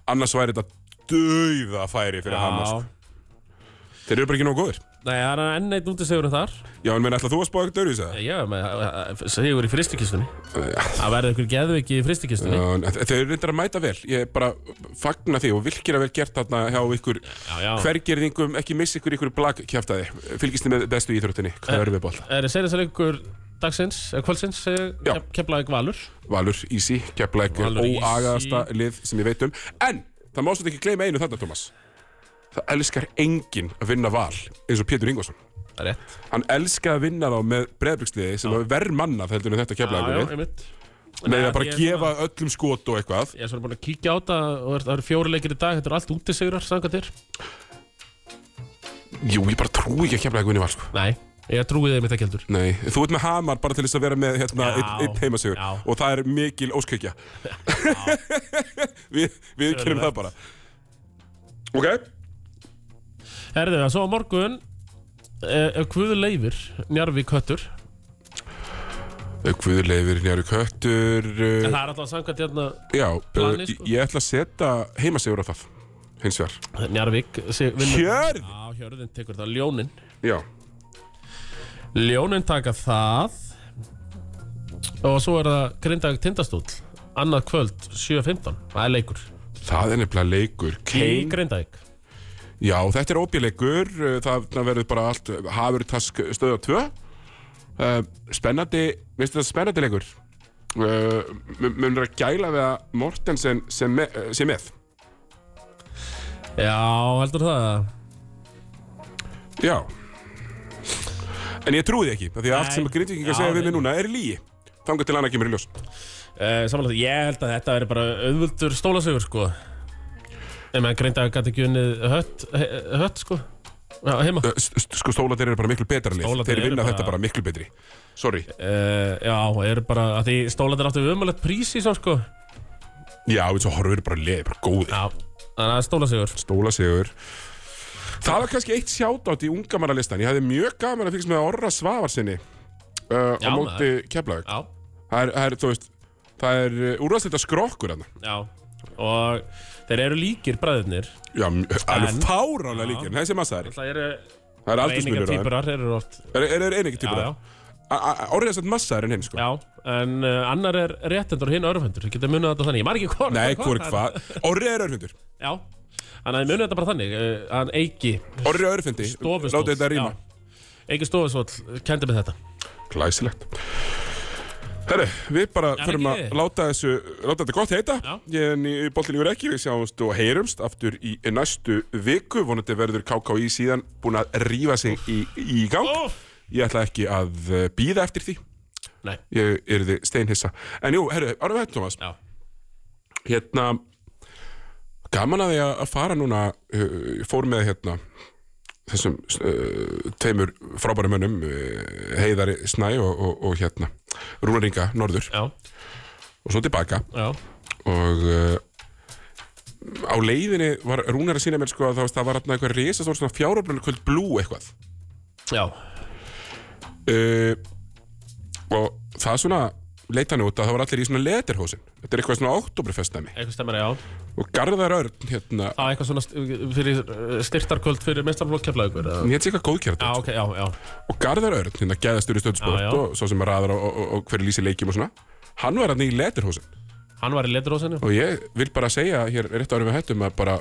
Annars væri þetta dauða færi fyrir Hamar. sko. Þeir eru bara ekki nógu góðir.
Nei, það er enn eitt útisegurinn þar
Já, en menn ætla þú að spá ekkert dörru í þess að?
Ég er með eh, eh, sigur í fristikistunni
Já.
Það verði ykkur geðviki í fristikistunni
Já, en Þeir eru reyndar að mæta vel. Ég bara fagna því og virkilega vel gert þarna hjá ykkur
Já, já. Eh.
hvergerðingum, ekki missa ykkur ykkur blag kjæftæði. Fylgist þið með bestu íþróttinni, hverfibólta.
Það er að segja þess að ykkur dagsins, eh, kvöldsins
Já.
kemlaði valur
Valur, Easy, Keflæk er
Valur, Easy.
óagaðasta lið sem ég veit um En, það má svolítið ekki gleyma einu þarna, Thomas Það elskar enginn að vinna val eins og Pétur Ingvarsson
Það er rétt
Hann elskaði að vinna þá með breðbyggsliði sem var verð mannað heldur en þetta
Já, já,
keflæðið
einmitt
Með
Nei,
að bara
ég er
gefa öllum skot og eitthvað
Ég er svona búin að kíkja á þetta og er- það eru fjóri leikir í dag, þetta eru allt útisigrar, samkvæmt þér
Jú, ég bara trúi ekki að keflæk vinni val sko
Nei, ég trúi þeim þetta keldur
Nei, þú ert með hamar bara til þess að vera með hérna,
Já.
einn einn heimasigur
Já.
og það er mikil
(laughs)
óskækja Við, við kynum það bara Ok,
Herðu, svo á morgun eh, ef Guður leifir, Njarvík höttur
Eh, Guðleifir, Njárvík Höttur uh,
En það er alltaf samkvæmt hérna
Já,
planið,
uh,
sko.
ég ætla að setja heimasigur á það Hins vegar
Njarvík sig- vinnur-
Hjörð!
Já, hjörðin tekur það, ljónin
Já,
Ljónin taka það Og svo er það Grindag tindastúll Annað kvöld, 7.15 Það er leikur
það er nefnilega leikur
Í
Kane,
Grindag
já, þetta er óbjöleikur Það þarna verður bara allt eh, Hafur task stöða 2 uh, Spennandi, veistu það spennandi leikur uh, mun- Munur að gæla við að Mortensen sem me, eh, sé með
Já, heldur það
Já En ég trúi því ekki, af því að allt
Nei.
sem grindvíkingar
Já,
segja við
nei.
mig núna er lígi Þangar til annað kemur í ljós
uh, Samanlega, ég held að þetta verður bara auðvöldur stólasugur sko En meðan Grindag gæti ekki unnið hött, he- hött sko Já, heima uh,
Ö, s- s- sko stólatir eru bara miklu betra lið
Stólarnir
þeir
eru
vinna
bara-
þetta bara miklu betri sorry,
Eh, Já, eru bara að Því stólandir áttu umöðlegt prís í svo sko
já, eins og horfur bara lið, bara góði
Já, þannig að stólasugur
stólasigur það var kannski eitt sjátátt í unga manna listan ég hafði mjög gaman að fylgjast með Orra Svavarsinni uh, á
Já,
móti Keflavík
Já,
það er, það er, þú veist það er úrvæðsleita skrokkur hann
já Og þeir eru líkir bræðirnir
já, mj-
En-
alveg fárálega líkir, þessi massa er í.
Það eru
það er aldursmunur á þeim.
Einingatýpurar eru oft
er, er, er einingi
Já,
típur
já,
Orri er satt massa er en hinn sko
já En uh, annar er réttendur og hinn örfendur Þið getur munið þetta þannig Ég maður ekki hvort
Nei,
hvort
hvori
það-
hvað, Orri er örfundur
Já Þannig að þið munið þetta bara þannig uh, Hann Eiki
Orri er örfundi,
Stofustóll
látið þetta rýma
Eiki Stofustóll kendi með þetta
Glæsilegt Herri, við bara
Er
förum að
ekki?
láta, þessu, láta þetta gott heita
Já.
Ég er í boltinni úr ekki, við sjáumst og heyrumst aftur í næstu viku vonandi verður KKÍ síðan búin að rífa sig í, í gang
Úff.
Ég ætla ekki að eh, bíða eftir því
Nei,
Ég yrði steinhissa En jú, herri, ára við þetta, Thomas
já
Hérna, gaman að því að að fara núna uh, Ég fór með hérna þessum uh, tveimur frábærum mönnum uh, Heiðari Snæ og, og, og hérna Rúnar Inga, Norður
Já,
og svo tilbaka
já
og uh, á leiðinni var Rúnar að sína mér sko að það, það var hérna eitthvað risastór svona fjáröflunarkvöld blú eitthvað
Já,
uh, og það svona leita hann út að það var allir í svona leterhósin þetta er eitthvað svona oktoberfestnæmi
eitthvað stemmar, já
og Garðar Örn hérna
Það er eitthvað svona st- fyrir uh, styrtarkvöld fyrir mestarflokk keflaðugur
Ég heit sér eitthvað góðkjörð
Já, ok, já, já
og Garðar Örn, hérna gæðastur í
Já, já.
stöðsport og svo sem er aðra og, og, og hverju lýsi leikjum og svona hann var hann í leturhúsin
Hann var í leturósinu
og ég vil bara segja hér rétt árum við hættum að bara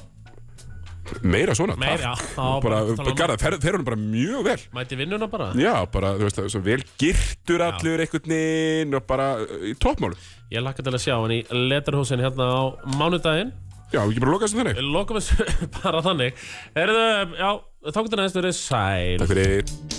meira svona
Meir, já,
takk.
já,
Og bara,
bara-
bara Garðar, fer, fer hún bara mjög vel
Mæti vinnuna bara
já, bara, þú veist, það er svo vel girtur allur einhvern veginn og bara uh, í toppmálum
Ég lakka til að sjá hann í letarhúsin hérna á mánudaginn
já, ekki bara lokaðast um þannig
Við (laughs) lokum þessu bara þannig Herðu, já, þá getur næstu verið sæl
takk fyrir